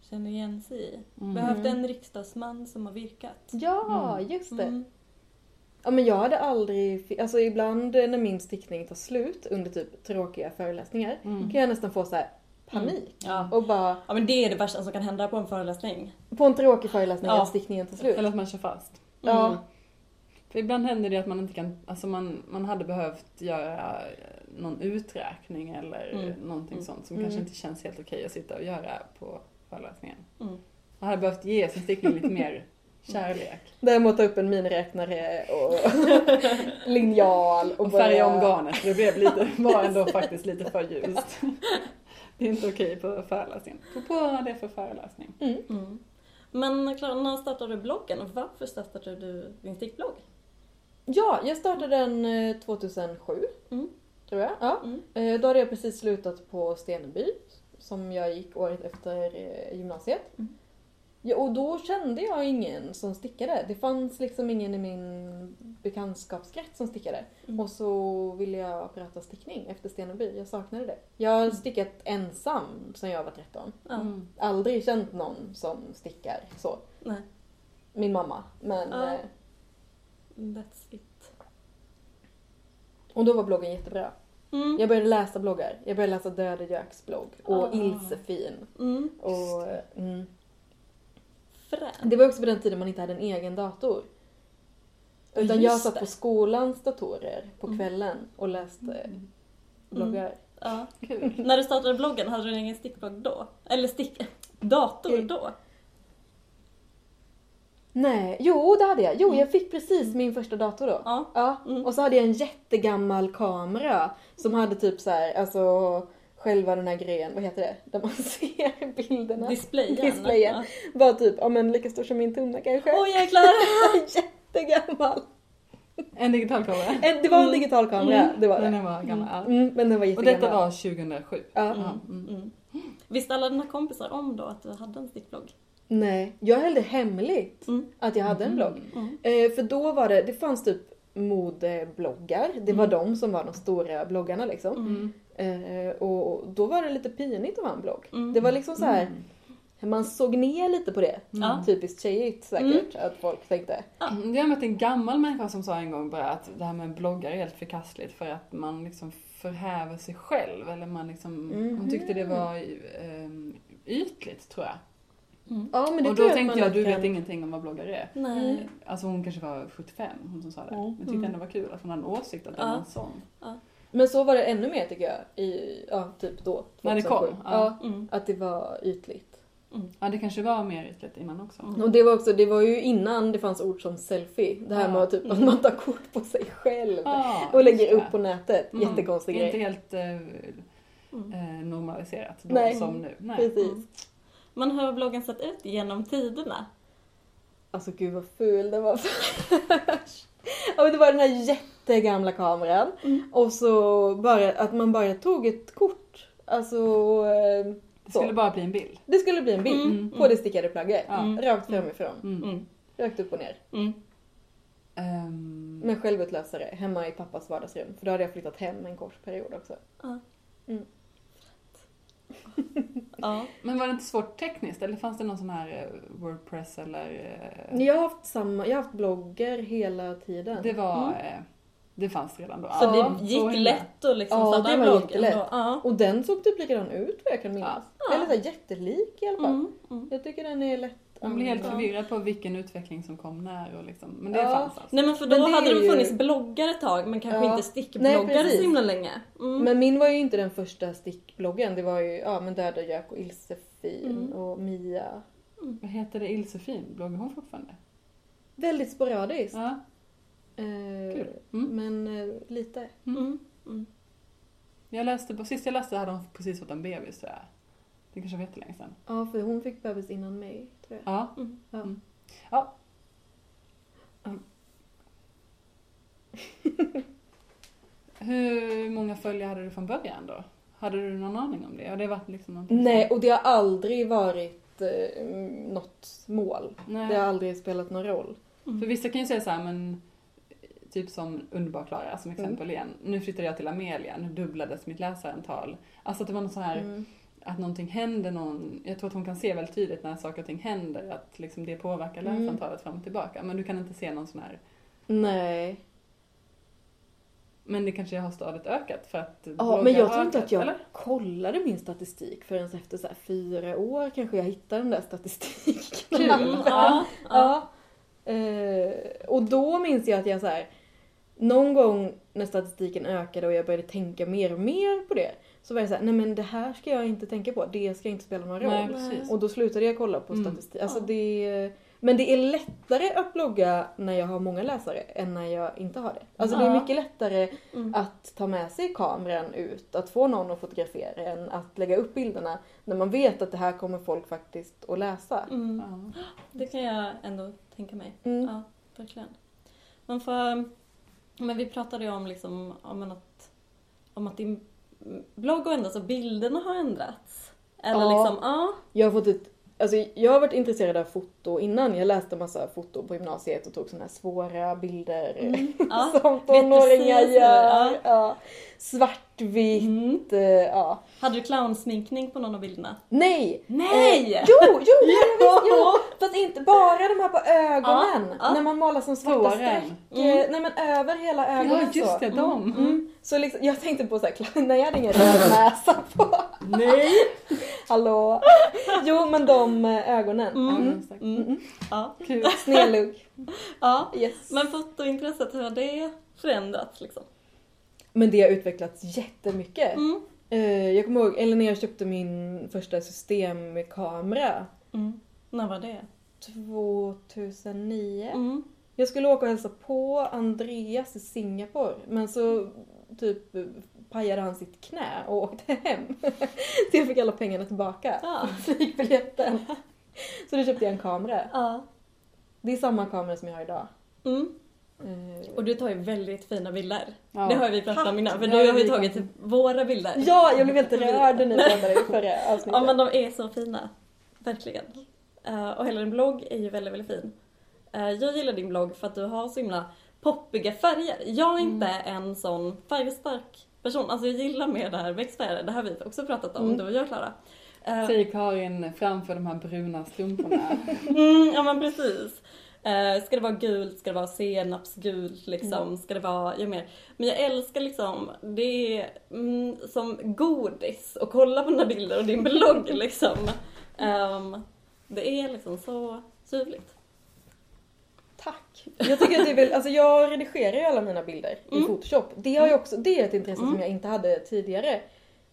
känner igen sig i. Mm. Behövde en riksdagsman som har virkat. Ja, Mm. just det. Mm. Ja men jag hade aldrig, fi- alltså ibland eh, när min stickning tar slut under typ tråkiga föreläsningar Mm. kan jag nästan få så här panik. Ja. Och bara, ja men det är det värsta som kan hända på en föreläsning. på en tråkig föreläsning Ja. att stickningen tar slut. Eller att man kör fast. Ja. Mm. För ibland händer det att man inte kan, alltså man, man hade behövt göra eh, någon uträkning eller Mm. någonting Mm. sånt som Mm. kanske inte känns helt okej att sitta och göra på föreläsningen. Mm. Man hade behövt ge sin <laughs> stickning lite mer kärlek. Däremot ta upp en miniräknare och linjal och, Och färga om börja- garnet, det blev lite, <laughs> var ändå faktiskt lite för ljust. Det är inte okej på föreläsningen. På på det för föreläsning. Mm. Men Klara, när startade du bloggen och varför startade du din stickblogg? Ja, jag startade den eh, 2007. Mm. Tror jag. Ja. Mm. Eh, Då hade jag precis slutat på Steneby som jag gick året efter eh, gymnasiet. Mm. Ja, och då kände jag ingen som stickade. Det fanns liksom ingen i min bekantskapskrets som stickade. Mm. Och så ville jag prata stickning efter Steneby. Jag saknade det. Jag har Mm. stickat ensam sedan jag var 13. Ja. Mm. Aldrig känt någon som stickar så. Nej, Min mamma. Men, Ja. eh, that's it. och då var bloggen jättebra. Mm. Jag började läsa bloggar. Jag började läsa Döde Jöks blogg och Ah. Ilsefin. Mm. Och, mm. Fränt. Det var också på den tiden man inte hade en egen dator. Ja, Utan just jag satt det. på skolans datorer på Mm. kvällen och läste Mm. bloggar. Ja. Kul. När du startade bloggen, hade du en egen stickblogg då? Eller stick... dator Mm. då? Nej, jo det hade jag. Jo, Mm. jag fick precis min första dator då. Ja. Ja, Mm. och så hade jag en jättegammal kamera som hade typ så här, alltså själva den här grejen, vad heter det? Där man <laughs> ser bilderna. Displayen. Displayen. Var typ, ja men lika stor som min tunna kanske. Ja. Åh jäklar! Jättegammal. En digital kamera. Eh, Det var en Mm. digital kamera, Mm. det var det. Den var gammal. Mm, men den var Och jättegammal. detta var 2007. Ja. Ja, Mm. mm. Mm. Visste alla dina kompisar om då att du hade en stickblogg? Nej, jag höll det hemligt Mm. att jag hade en blogg. Mm. Eh, för då var det, det fanns typ modebloggar. Det var Mm. de som var de stora bloggarna liksom. Mm. Eh, och och då var det lite pinigt att ha en blogg. Mm. Det var liksom så här, Mm. man såg ner lite på det. Ja. Typiskt tjejigt säkert att folk tänkte. Mm, Jag mötte en gammal människa som sa en gång bara att det här med bloggar är helt förkastligt för att man liksom förhäver sig själv. Eller man liksom, Mm. hon tyckte det var ehm, ytligt tror jag. Mm. Ja men det och tror då att tänkte man jag, du kan- vet ingenting om vad bloggar är. Nej. Mm. Alltså hon kanske var 75, hon som sa det. Mm. Men jag tyckte ändå det var kul att hon hade en åsikt att det Ja. var en sån. Men så var det ännu mer tycker jag. I, ja, typ då. När det kom, 2007. ja. Ja. Mm. Att det var ytligt. Ja det kanske var mer ytligt innan också. Mm. Och det var också, det var ju innan det fanns ord som selfie. Det här Ja. Mm. med att typ, att man tar kort på sig själv. Ja, Och lägger just upp det. på nätet. Mm. Jättekonstig Inte grej. helt eh, Mm. eh, normaliserat då Nej. som nu. Nej. Precis. Mm. Men hur har bloggen sett ut genom tiderna? Alltså gud vad ful den var Ja men det var den här jättegamla kameran. Mm. Och så bara att man bara tog ett kort. Alltså eh, Det Så. skulle bara bli en bild. det skulle bli en bild Mm. på det stickade plagget. Ja. Mm. Rakt framifrån. Mm. Mm. Rakt upp och ner. Mm. Ehm, Med självutlösare hemma i pappas vardagsrum. För då hade jag flyttat hem en kort period också. Ja. Mm. Ja. Men var det inte svårt tekniskt eller fanns det någon sån här eh, Wordpress eller? eh, Jag har haft samma, jag har haft bloggar hela tiden. Det var, eh, det fanns redan då. Så Ja, det gick himla. lätt att liksom Ja, starta det en var blogg? jättelätt. ändå? Ja. Och den såg typ likadan ut vad jag kan minnas. Ja. Eller så här jättelik i alla fall. Mm. Mm. Jag tycker den är lätt. Man blev helt Ja. förvirrad på vilken utveckling som kom när och liksom. Men det Ja. fanns alltså. Nej men för då Men det är hade det ju- funnits bloggar ett tag men kanske Ja. inte stickbloggar Nej, precis. så himla länge. Mm. Men min var ju inte den första stickbloggen. Det var ju ja, men Döda Gök och Ilsefin Mm. och Mia. Vad heter det? Ilsefin? Bloggar hon fortfarande? Väldigt sporadiskt. Ja, Eh, kul. Mm. men eh, lite. Mm. Jag läste, på- sist jag läste hade hon precis fått en bebis tror jag. Det kanske var jättelänge sedan. Ja, för hon fick bebis innan mig tror jag. Ja. Mm. Ja. Mm. ja. Ja. Hur många följare hade du från början då? Hade du någon aning om det? Har det varit liksom någonting som- Nej, och det har aldrig varit eh, något mål. Nej. Det har aldrig spelat någon roll. För vissa kan ju säga så här, men typ som Underbar Klara Mm. som exempel igen. Nu flyttade jag till Amelia, nu dubblades mitt läsarantal. Alltså att det var någon så här, Mm. att någonting händer någon, jag tror att hon kan se väldigt tydligt när saker och ting händer, att liksom det påverkar Mm. läsarantalet fram och tillbaka. Men du kan inte se någon sån här, Nej. men det kanske har stadigt ökat för att Ja, bloggar men jag har tror inte ökat, att jag Eller? kollade min statistik förrän efter så här fyra år kanske jag hittade den där statistiken. Kul. <laughs> Mm. Ja. Ja. Ja. Eh, och då minns jag att jag så här, någon gång när statistiken ökade och jag började tänka mer och mer på det så var jag så här, nej men det här ska jag inte tänka på, det ska inte spela någon roll. Nej, Nej. precis. Och då slutade jag kolla på Mm. statistik. Alltså Ja. det, men det är lättare att blogga när jag har många läsare än när jag inte har det. Alltså det är Ja. mycket lättare Mm. att ta med sig kameran ut, att få någon att fotografera en, att lägga upp bilderna när man vet att det här kommer folk faktiskt att läsa. Mm. Ja. Det kan jag ändå tänka mig. Mm. Ja, verkligen. Men, för, men vi pratade ju om, liksom, om, en att, om att din blogg har ändrats och bilderna har ändrats. Eller Ja. liksom, ja. Jag har fått ett Alltså jag har varit intresserad av foto innan. Jag läste massa foto på gymnasiet och tog sådana här svåra bilder Mm. <laughs> Ja. som tonåringar Vet precis hur- ja. gör. Ja. Svartvitt, Mm. eh, ja. Hade du clownsminkning på någon av bilderna? Nej! Nej! Eh, jo, jo, jo, jag visst, jo! Fast inte bara de här på ögonen. Ja, ja. När man målar som svarta Tåren. streck. Mm. Eh, Nej men över hela ögonen Ja just det, så. de. Mm. Så liksom, jag tänkte på såhär, nej jag hade ingen röd näsa på. Nej! <laughs> Hallå! Jo men de eh, ögonen. Mm. Ja, exakt. Mm. Ja. <laughs> Kul. Snedlugg. ja. Yes. Men fotointresset, hur har det förändrats liksom? Men det har utvecklats jättemycket. Mm. Eh, jag kommer ihåg, eller när jag köpte min första systemkamera. Mm. När var det? 2009. Mm. Jag skulle åka och hälsa på Andreas i Singapore men så typ pajade han sitt knä och åkte hem. <laughs> Så jag fick alla <laughs> pengarna tillbaka. Ja. Flygbiljetten. Så då köpte jag en kamera. ja. Det är samma kamera som jag har idag. Mm. Eh, Och du tar ju väldigt fina bilder. Ja. Det har vi pratat om innan, för Tack. du Ja, har ju vi- tagit typ våra bilder. Ja, jag blev helt rörd när ni pratade i förra avsnittet. Ja men de är så fina. Verkligen. Eh, och hela din blogg är ju väldigt, väldigt fin. Eh, jag gillar din blogg för att du har så himla poppiga färger. Jag är inte Mm. en sån färgstark person. Alltså jag gillar mer det här växtfärger. Det här har vi också pratat om, Mm. du och jag Klara. Eh, Säger Karin framför de här bruna strumporna. Mm, ja men precis. Eh, ska det vara gult, ska det vara senapsgult liksom, ska det vara, jag mer. Men jag älskar liksom, det är mm, som godis att kolla på dina bilder <laughs> och din blogg liksom. Ehm, det är liksom så tydligt. Tack! Jag tycker att det är väl, alltså jag redigerar ju alla mina bilder i Mm. Photoshop. Det, har ju också, det är ett intresse som Mm. jag inte hade tidigare.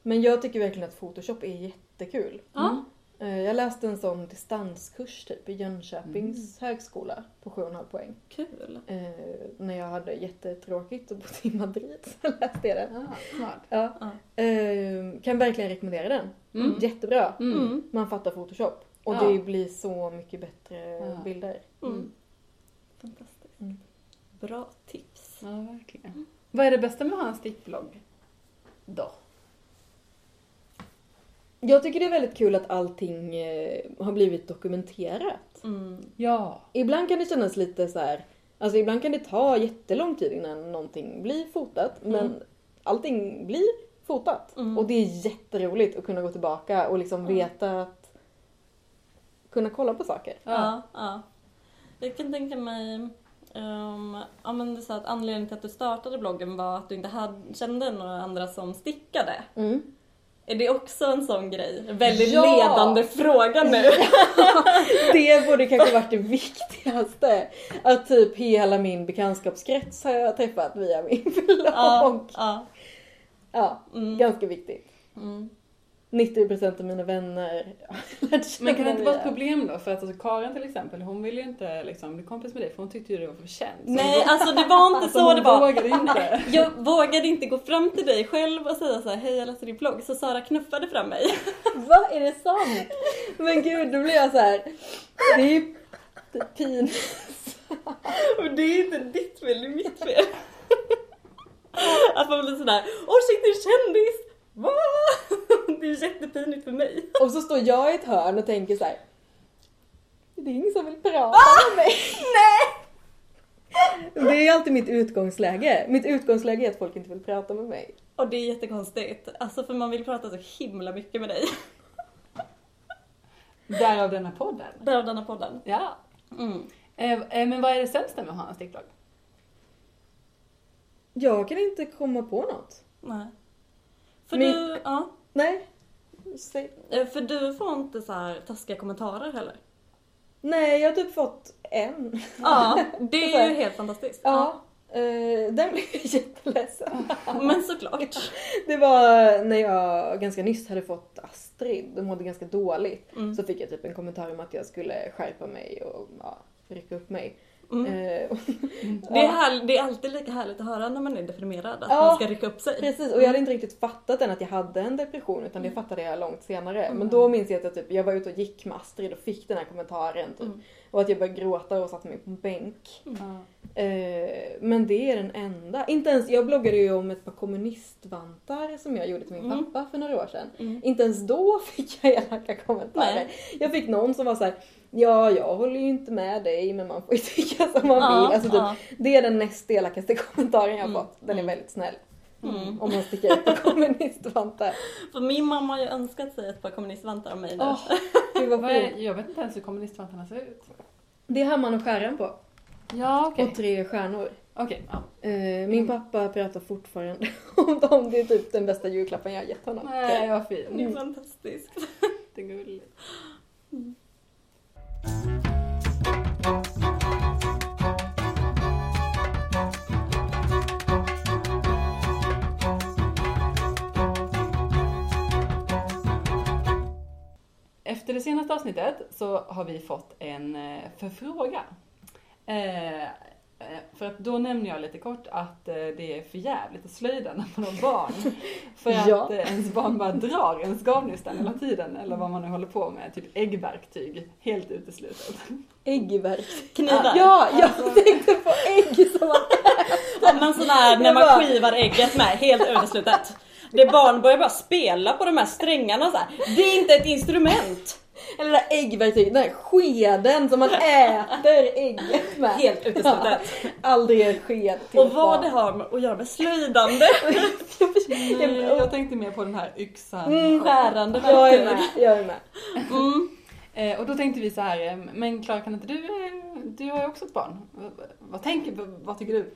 Men jag tycker verkligen att Photoshop är jättekul. Ja. Eh, Jag läste en sån distanskurs typ i Jönköpings högskola på 7,5 poäng. Kul. Eh, när jag hade jättetråkigt och bodde i Madrid så <laughs> läste jag den. <laughs> Ja, smart. Ja. Eh, kan verkligen rekommendera den. Mm. Jättebra. Mm. Mm. Man fattar Photoshop. Och Ja. det blir så mycket bättre Ja. bilder. Mm. Fantastiskt. Mm. Bra tips. Ja, verkligen. Vad är det bästa med att ha en stickblogg? Då. Jag tycker det är väldigt kul att allting eh, har blivit dokumenterat. Mm. Ja. Ibland kan det kännas lite så här. Alltså ibland kan det ta jättelång tid innan någonting blir fotat. Men Mm. allting blir fotat. Mm. Och det är jätteroligt att kunna gå tillbaka och liksom Mm. veta att kunna kolla på saker. Ja. Ja, ja. Jag kan tänka mig ehm, ja, men du sa att anledningen till att du startade bloggen var att du inte hade, kände några andra som stickade. Är det också en sån grej? En Väldigt Ja! ledande fråga nu. Det borde kanske varit det viktigaste. Att typ hela min bekantskapskrets har jag träffat via min <laughs> blogg. Ja, Ja, ja. Mm, ganska viktigt. mm. 90% av mina vänner <laughs> har lärt känna Men kan det inte vara ett via- problem då? För att alltså, Karin till exempel, hon ville ju inte liksom, bli kompis med dig för hon tyckte ju det var för känt. Så Nej, alltså det var inte hon, <laughs> så det hon var. vågade inte. Jag vågade inte gå fram till dig själv och säga så här, hej jag läste din blogg, så Sara knuffade fram mig. Va? Är det sant? Men gud, då blir jag så här. "Typ." Det är ju pinsamt. Och det är inte ditt fel, det är mitt fel. <laughs> Att man blir sådär, åh shit det är en kändis! Va? <laughs> Det är jättepinigt för mig. Och så står jag i ett hörn och tänker så här. Det är ingen som vill prata med mig. Nej! Det är alltid mitt utgångsläge. Mitt utgångsläge är att folk inte vill prata med mig. Och det är jättekonstigt, alltså för man vill prata så himla mycket med <laughs> dig. Därav denna podden. Därav denna podden. Ja. Mm. Eh, eh, men vad är det sämsta med att ha en stickblogg? Jag kan inte komma på något. Nej. För, Men- du, ja, Nej. Säg. Eh, för du får inte så här taskiga kommentarer heller. Nej, jag har typ fått en. <laughs> Ja, det är ju helt fantastiskt. Ja. eh, den blev <laughs> jag jätteledsen. Men <laughs> såklart. Det var när jag ganska nyss hade fått Astrid. De mådde ganska dåligt. Mm. Så fick jag typ en kommentar om att jag skulle skärpa mig och ja, rycka upp mig. Mm. Eh, och- <laughs> Det, är här, det är alltid lika härligt att höra när man är deprimerad, att Ja. man ska rycka upp sig. Precis, och jag hade inte riktigt fattat än att jag hade en depression utan det Mm. fattade jag långt senare. Men då minns jag att jag, typ, jag var ute och gick med Astrid och fick den här kommentaren. Typ. Mm. Och att jag började gråta och satte mig på en bänk. Ja. Eh, men det är den enda. Inte ens, jag bloggade ju om ett par kommunistvantar som jag gjorde till min Mm. pappa för några år sedan. Mm. Inte ens då <laughs> fick jag elaka kommentarer. Nej. Jag fick någon som var så här: ja jag håller ju inte med dig men man får ju <laughs> tycka som man Ja, vill. Alltså, typ, ja. Det är den näst elakaste <laughs> kommentaren jag har Mm. fått. Den är Mm. väldigt snäll. Mm. Om man <laughs> sticker ut på kommunistvantar. För min mamma har ju önskat sig ett par kommunistvantar av mig nu. Åh, Gud vad Vad fint. är, jag vet inte ens hur kommunistvantarna ser ut. Det är hammaren och skäran på. Ja, okej. Och tre stjärnor. Okej, ja. Eh, Mm. min pappa pratar fortfarande <laughs> om dem. Det är typ den bästa julklappen jag har gett honom. Nej, vad Det är fin. fantastiskt. Jättegulligt. Efter det senaste avsnittet så har vi fått en eh, förfrågan. Eh, eh, För att då nämnde jag lite kort att eh, det är för jävligt att slöjda när man har barn. <laughs> För att Ja. eh, ens barn bara drar ens garnnystan hela tiden eller vad man nu håller på med. Typ äggverktyg, helt uteslutet. Äggverk. Knivar. Ja, jag Alltså. tänkte på ägg som man... Ja, men sån här när Jag man bara- skivar ägget med, helt uteslutet. Det barn börjar bara spela på de här strängarna så här. Det är inte ett instrument! Eller det där äggverktyget, den där skeden som man <laughs> äter ägget med. Helt uteslutet. Aldrig en sked till Och ett vad barn. det har med att göra med slöjdande. Nej, jag tänkte mer på den här yxan. Mm. Skärande Jag är verktyg. med, jag är med. Mm. Eh, Och då tänkte vi så här, eh, men Klara kan inte du, eh, du har ju också ett barn. Vad- Vad tänker, vad- vad tycker du?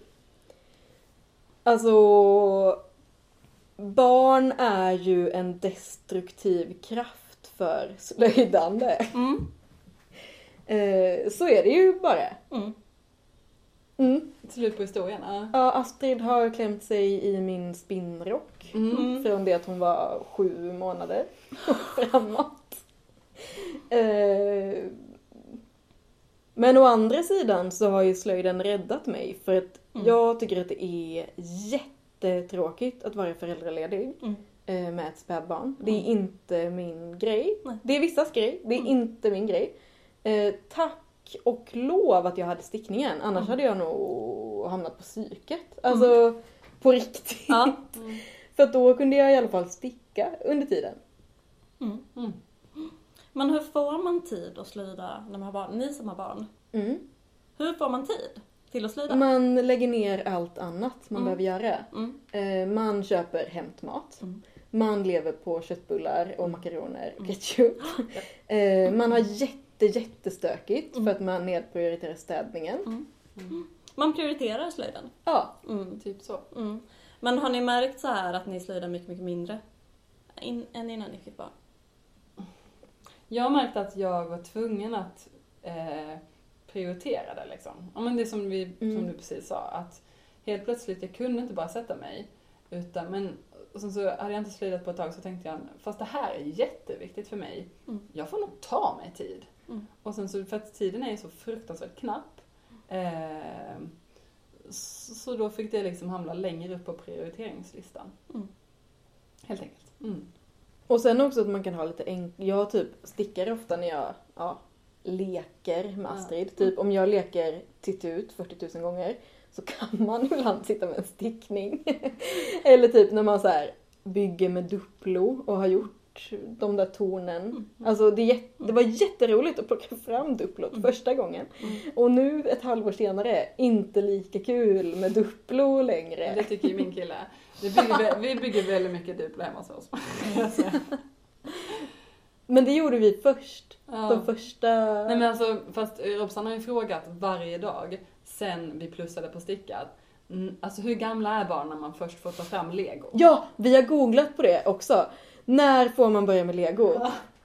Alltså, barn är ju en destruktiv kraft för slöjdande. Mm. Eh, så är det ju bara. Mm. Mm. Slut på historien? ja. Ja, Astrid har klämt sig i min spinnrock. Mm. Mm. Från det att hon var sju månader <laughs> och framåt. Eh, Men å andra sidan så har ju slöjden räddat mig för att Mm. jag tycker att det är jättetråkigt att vara föräldraledig Mm. eh, med ett spädbarn. Det är Mm. inte min grej. Nej. Det är vissas grej, det är Mm. inte min grej. Eh, Tack och lov att jag hade stickningen, annars Mm. hade jag nog hamnat på psyket. Alltså, på riktigt. Ja. Mm. För att då kunde jag i alla fall sticka under tiden. Mm. Mm. Men hur får man tid att slöjda när man har barn? Ni som har barn. Hur får man tid till att slöjda? Man lägger ner allt annat man Mm. behöver göra. Mm. Eh, Man köper hämtmat. Mm. Man lever på köttbullar och makaroner och Mm. ketchup. Eh, Man har jätte, jättestökigt för Mm. att man nedprioriterar städningen. Man prioriterar slöjden. Ja, Mm. Typ så. Mm. Men har ni märkt så här att ni slöjdar mycket, mycket mindre? In, än innan ni fick barn? Jag har märkt att jag var tvungen att eh, prioritera det liksom. Ja, men det är som, vi, som Mm. du precis sa, att helt plötsligt, jag kunde inte bara sätta mig. Utan, men och sen så hade jag inte slöjdat på ett tag så tänkte jag, fast det här är jätteviktigt för mig. Mm. Jag får nog ta mig tid. Mm. Och sen så, för att tiden är ju så fruktansvärt knapp. Eh, så, så då fick det liksom hamna längre upp på prioriteringslistan. Mm. Helt enkelt. Mm. Och sen också att man kan ha lite enk... Jag typ stickar ofta när jag ja, leker med Ja. Astrid. Typ om jag leker tittut 40 000 gånger så kan man <laughs> ibland sitta med en stickning. <laughs> Eller typ när man så här bygger med Duplo och har gjort de där tornen. Mm. Alltså det, är jätte, det var jätteroligt att plocka fram Duplot Mm. första gången. Mm. Och nu ett halvår senare, inte lika kul med Duplo längre. Det tycker ju min kille. Vi bygger, vä- vi bygger väldigt mycket Duplo hemma hos oss. Men det gjorde vi först. Ja. De första... Nej men alltså, fast Robsan har ju frågat varje dag sen vi plussade på stickat. Mm, Alltså hur gamla är barn när man först får ta fram lego? Ja, vi har googlat på det också. När får man börja med lego?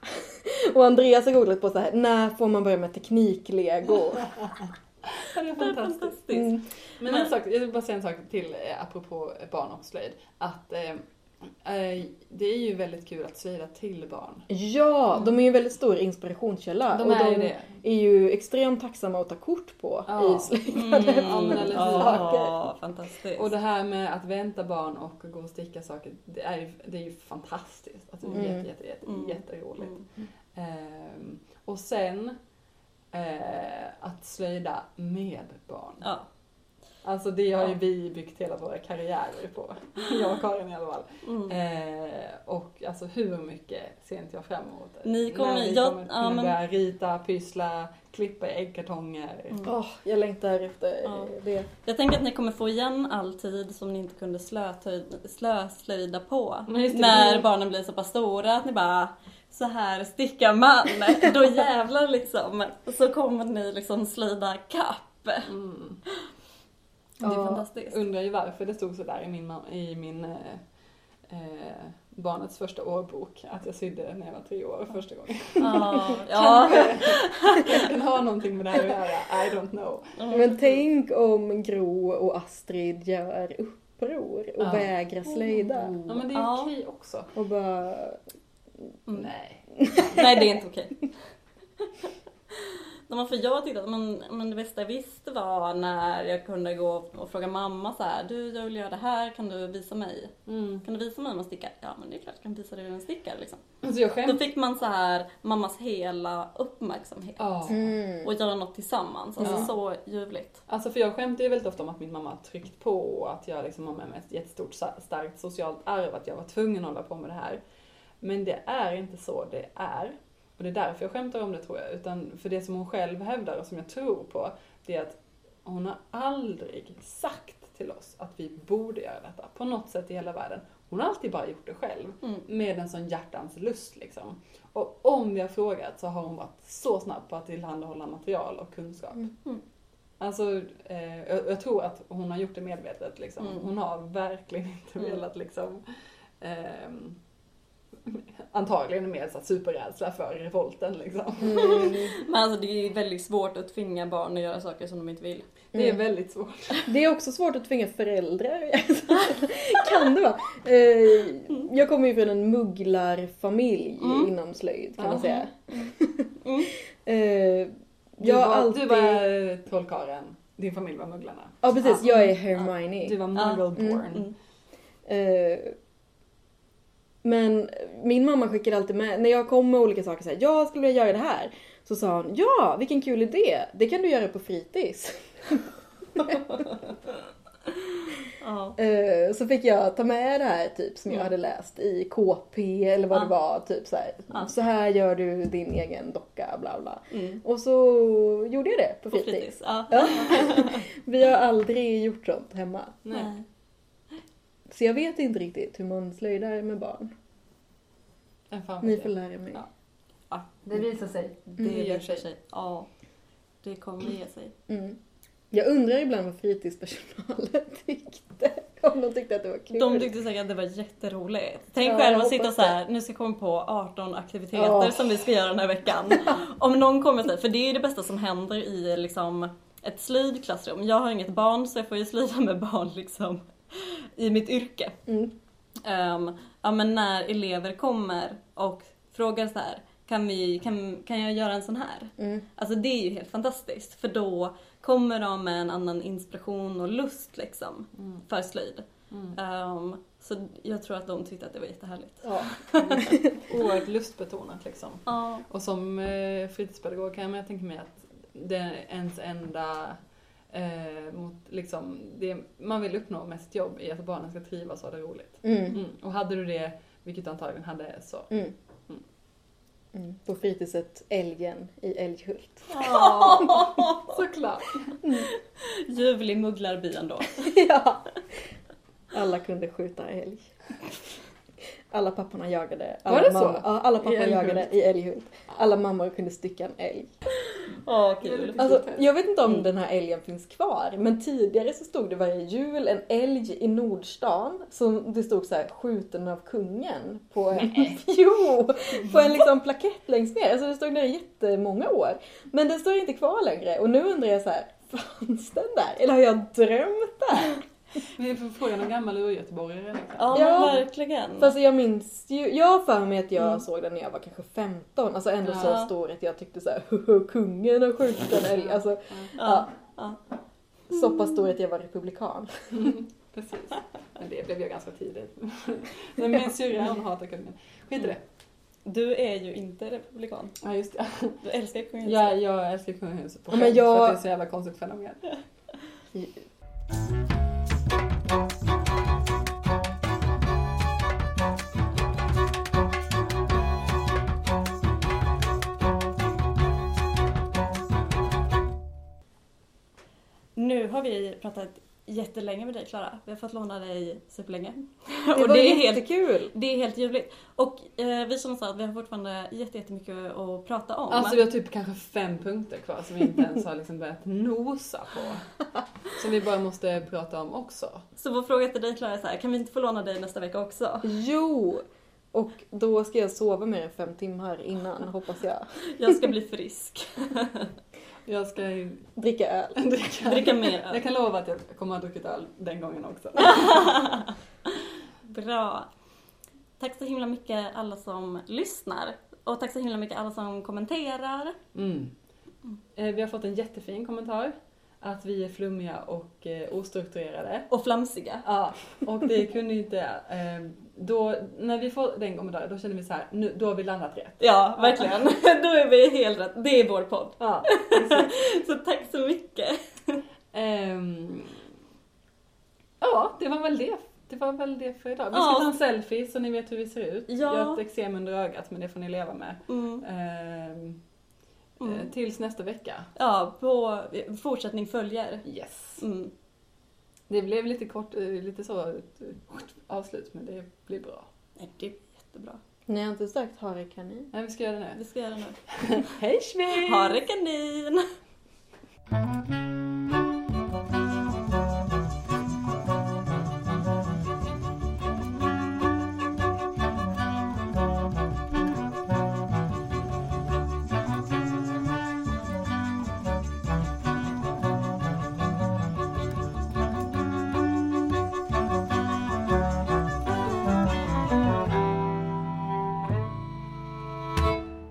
<laughs> Och Andreas har googlat på så här, när får man börja med tekniklego? <laughs> Det är Det är fantastiskt. fantastiskt. Mm. Men en sak, jag vill bara säga en sak till eh, apropå barn och slöjd. Att eh, eh, det är ju väldigt kul att slöjda till barn. Ja, de är ju en väldigt stor inspirationskälla. De och är ju de det. är ju extremt tacksamma att ta kort på Ja. i slöjdade Mm. Ja, men eller hur? Ja, fantastiskt. Och det här med att vänta barn och gå och sticka saker, det är ju, det är ju fantastiskt. Alltså, det är Mm. jätte, jätte, jätte, Mm. jätteroligt. Mm. Ehm, och sen eh, att slöjda med barn. Ja. Alltså det har ju vi byggt hela våra karriärer <laughs> på. Jag och Karin i alla fall. Mm. Eh, och alltså hur mycket ser inte jag fram emot? Ni kommer- När vi jag- kommer ja, kunna men- börja rita, pyssla, klippa i äggkartonger. Mm. Åh, jag längtar efter Ja. det. Jag tänker att ni kommer få igen all tid som ni inte kunde slötöj- slöslöjda på. Men just det, när vi- barnen blir så pass stora att ni bara så här stickar <laughs> man, då jävlar liksom. Så kommer ni liksom slida kapp. Mm. Det är Ja, fantastiskt. Undrar ju varför det stod sådär i min, mam- i min eh, eh, barnets första årbok att jag sydde när jag var tre år första gången. <laughs> Ja, ja. Den har någonting med det här att göra, I don't know. Men tänk om Gro och Astrid gör uppror och Ja. Mm. vägrar slöjda. Ja men det är Ja. okej också. Och bara... Mm. Nej. <laughs> Nej det är inte okej. Nej, men för jag tyckte att men, men det bästa jag visste var när jag kunde gå och fråga mamma så här, du jag vill göra det här, kan du visa mig? Mm. Kan du visa mig hur man stickar? Ja men det är klart jag kan visa dig hur man stickar liksom. Alltså jag Då skäms. fick man så här mammas hela uppmärksamhet. Ja. mm, Och göra något tillsammans, alltså Ja. så ljuvligt. Alltså för jag skämtar ju väldigt ofta om att min mamma har tryckt på och att jag liksom har med mig ett jättestort sa- starkt socialt arv, att jag var tvungen att hålla på med det här. Men det är inte så det är. Och det är därför jag skämtar om det tror jag. Utan för det som hon själv hävdar och som jag tror på, det är att hon har aldrig sagt till oss att vi borde göra detta på något sätt i hela världen. Hon har alltid bara gjort det själv Mm. med en sån hjärtans lust liksom. Och om vi har frågat så har hon varit så snabb på att tillhandahålla material och kunskap. Mm. Mm. Alltså, eh, jag, jag tror att hon har gjort det medvetet liksom. Mm. Hon har verkligen inte Mm. velat liksom ehm, Antagligen med så här superrädsla för revolten liksom. Mm. Men alltså det är ju väldigt svårt att tvinga barn att göra saker som de inte vill. Det är Mm. väldigt svårt. Det är också svårt att tvinga föräldrar. <laughs> kan det vara? Eh, jag kommer ju från en mugglarfamilj Mm. inom slöjd kan Aha. man säga. Mm. <laughs> Eh, Du jag har var, alltid... du var trollkarlen, din familj var mugglarna. Ja precis, Ja. jag är Hermione. Du var Ja. muggleborn. Mm. Eh, men min mamma skickade alltid med, när jag kom med olika saker såhär, jag skulle vilja göra det här. Så sa hon, ja vilken kul idé, det kan du göra på fritids. Ja. Eh, så fick jag ta med det här typ som jag Mm. hade läst i KP eller vad Ah. det var. Typ så här, Ah. så här gör du din egen docka bla bla. Mm. Och så gjorde jag det på På fritids. fritids. Ja. Ja. Vi har aldrig gjort sånt hemma. Nej. <laughs> Nej. Så jag vet inte riktigt hur man slöjdar med barn. Men fan vad Ni kul. får lära mig. Ja. Ja, det visar sig. Det Mm. gör sig. Ja. Det kommer ge sig. Mm. Jag undrar ibland vad fritidspersonalen <laughs> tyckte. Om de tyckte att det var kul. De tyckte säkert att det var jätteroligt. Tänk Ja, jag själv att hoppas sitta det. så här. nu ska jag komma på 18 aktiviteter Ja. som vi ska göra den här veckan. Om någon kommer till för det är ju det bästa som händer i liksom ett slöjdklassrum. Jag har inget barn så jag får ju slöjda med barn liksom i mitt yrke. mm. Ehm, ja men när elever kommer och frågar så här, kan, vi, kan, kan jag göra en sån här? Mm. Alltså det är ju helt fantastiskt för då kommer de med en annan inspiration och lust liksom Mm. för slöjd. Mm. Ehm, så jag tror att de tyckte att det var jättehärligt. <laughs> Ja. Oerhört lustbetonat liksom. <laughs> Ja. Och som eh, fritidspedagog kan jag tänka mig att det är ens enda eh, mot, liksom, det man vill uppnå med sitt jobb är att barnen ska trivas och ha det roligt. Mm. Mm. Och hade du det, vilket du antagligen hade, så Mm. Mm. Mm. På fritidset Älgen i Älghult. såklart. Ljuvlig mugglarby ändå. <laughs> ja. Alla kunde skjuta älg. Alla papporna jagade. Alla Var det så? mamma- Ja, alla pappor I Älghult? jagade i Älghult. Alla mammor kunde stycka en älg. Åh kul. kul. Alltså, jag vet inte om Mm. den här älgen finns kvar, men tidigare så stod det varje jul en älg i Nordstan som det stod så här skjuten av kungen på en, <laughs> jo, på en liksom plakett längst ner. Alltså det stod där i jättemånga år. Men den står inte kvar längre och nu undrar jag så här, <laughs> fanns den där? Eller har jag drömt det här? Men jag får fråga någon gammal urgöteborgare liksom. Ja, Ja. men verkligen. För alltså jag minns ju, jag har för mig att jag Mm. såg den när jag var kanske 15, alltså ändå Ja. så stor att jag tyckte så här, <laughs> "Hoho, kungen har skjutit en älg. Alltså, ja. ja. ja. Så pass Mm. stor att jag <laughs> var republikan. Mm, Precis. Men det blev jag ganska tidigt. <laughs> Men min syrra hon hatar kungen. Skit i Mm. det. Du är ju inte republikan. Ja just det. Du älskar kungahuset. Jag, jag älskar kungahuset på Ja, men skämt för jag- att det är så jävla konstigt fenomen. Nu har vi pratat jättelänge med dig Klara. Vi har fått låna dig superlänge. Det Och var det är helt jättekul! Det är helt ljuvligt. Och eh, vi som sagt, vi har fortfarande jätte- jättemycket att prata om. Alltså vi har typ kanske fem punkter kvar som vi inte ens har liksom börjat nosa på. Som vi bara måste prata om också. Så vår fråga till dig Klara är så här, kan vi inte få låna dig nästa vecka också? Jo! Och då ska jag sova mer än fem timmar innan, hoppas jag. Jag ska bli frisk. Jag ska ju Dricka öl. <laughs> dricka, Dricka mer öl. Jag kan lova att jag kommer att ha druckit öl den gången också. Bra. Tack så himla mycket alla som lyssnar. Och tack så himla mycket alla som kommenterar. Mm. Eh, Vi har fått en jättefin kommentar. Att vi är flummiga och eh, ostrukturerade. Och flamsiga. Ja, och det kunde ju inte... Eh, då, när vi får den kommentaren då känner vi så här, nu, då har vi landat rätt. Ja, verkligen. <laughs> Då är vi helt rätt. Det är vår podd. Ja. Så tack så mycket. Ehm, ja, det var väl det. Det var väl det för idag. Vi ska Ja. ta en selfie så ni vet hur vi ser ut. Ja. Jag har ett eksem under ögat men det får ni leva med. Mm. Ehm, Mm. eh, Tills nästa vecka. Ja, på fortsättning följer. Yes. Mm. Det blev lite kort, eh, lite så eh, avslut men det blir bra. Nej, det är jättebra. Ni har inte sagt hare kanin? Nej, vi ska göra det nu. Vi ska göra det nu. Hej svej! Ha det kanin!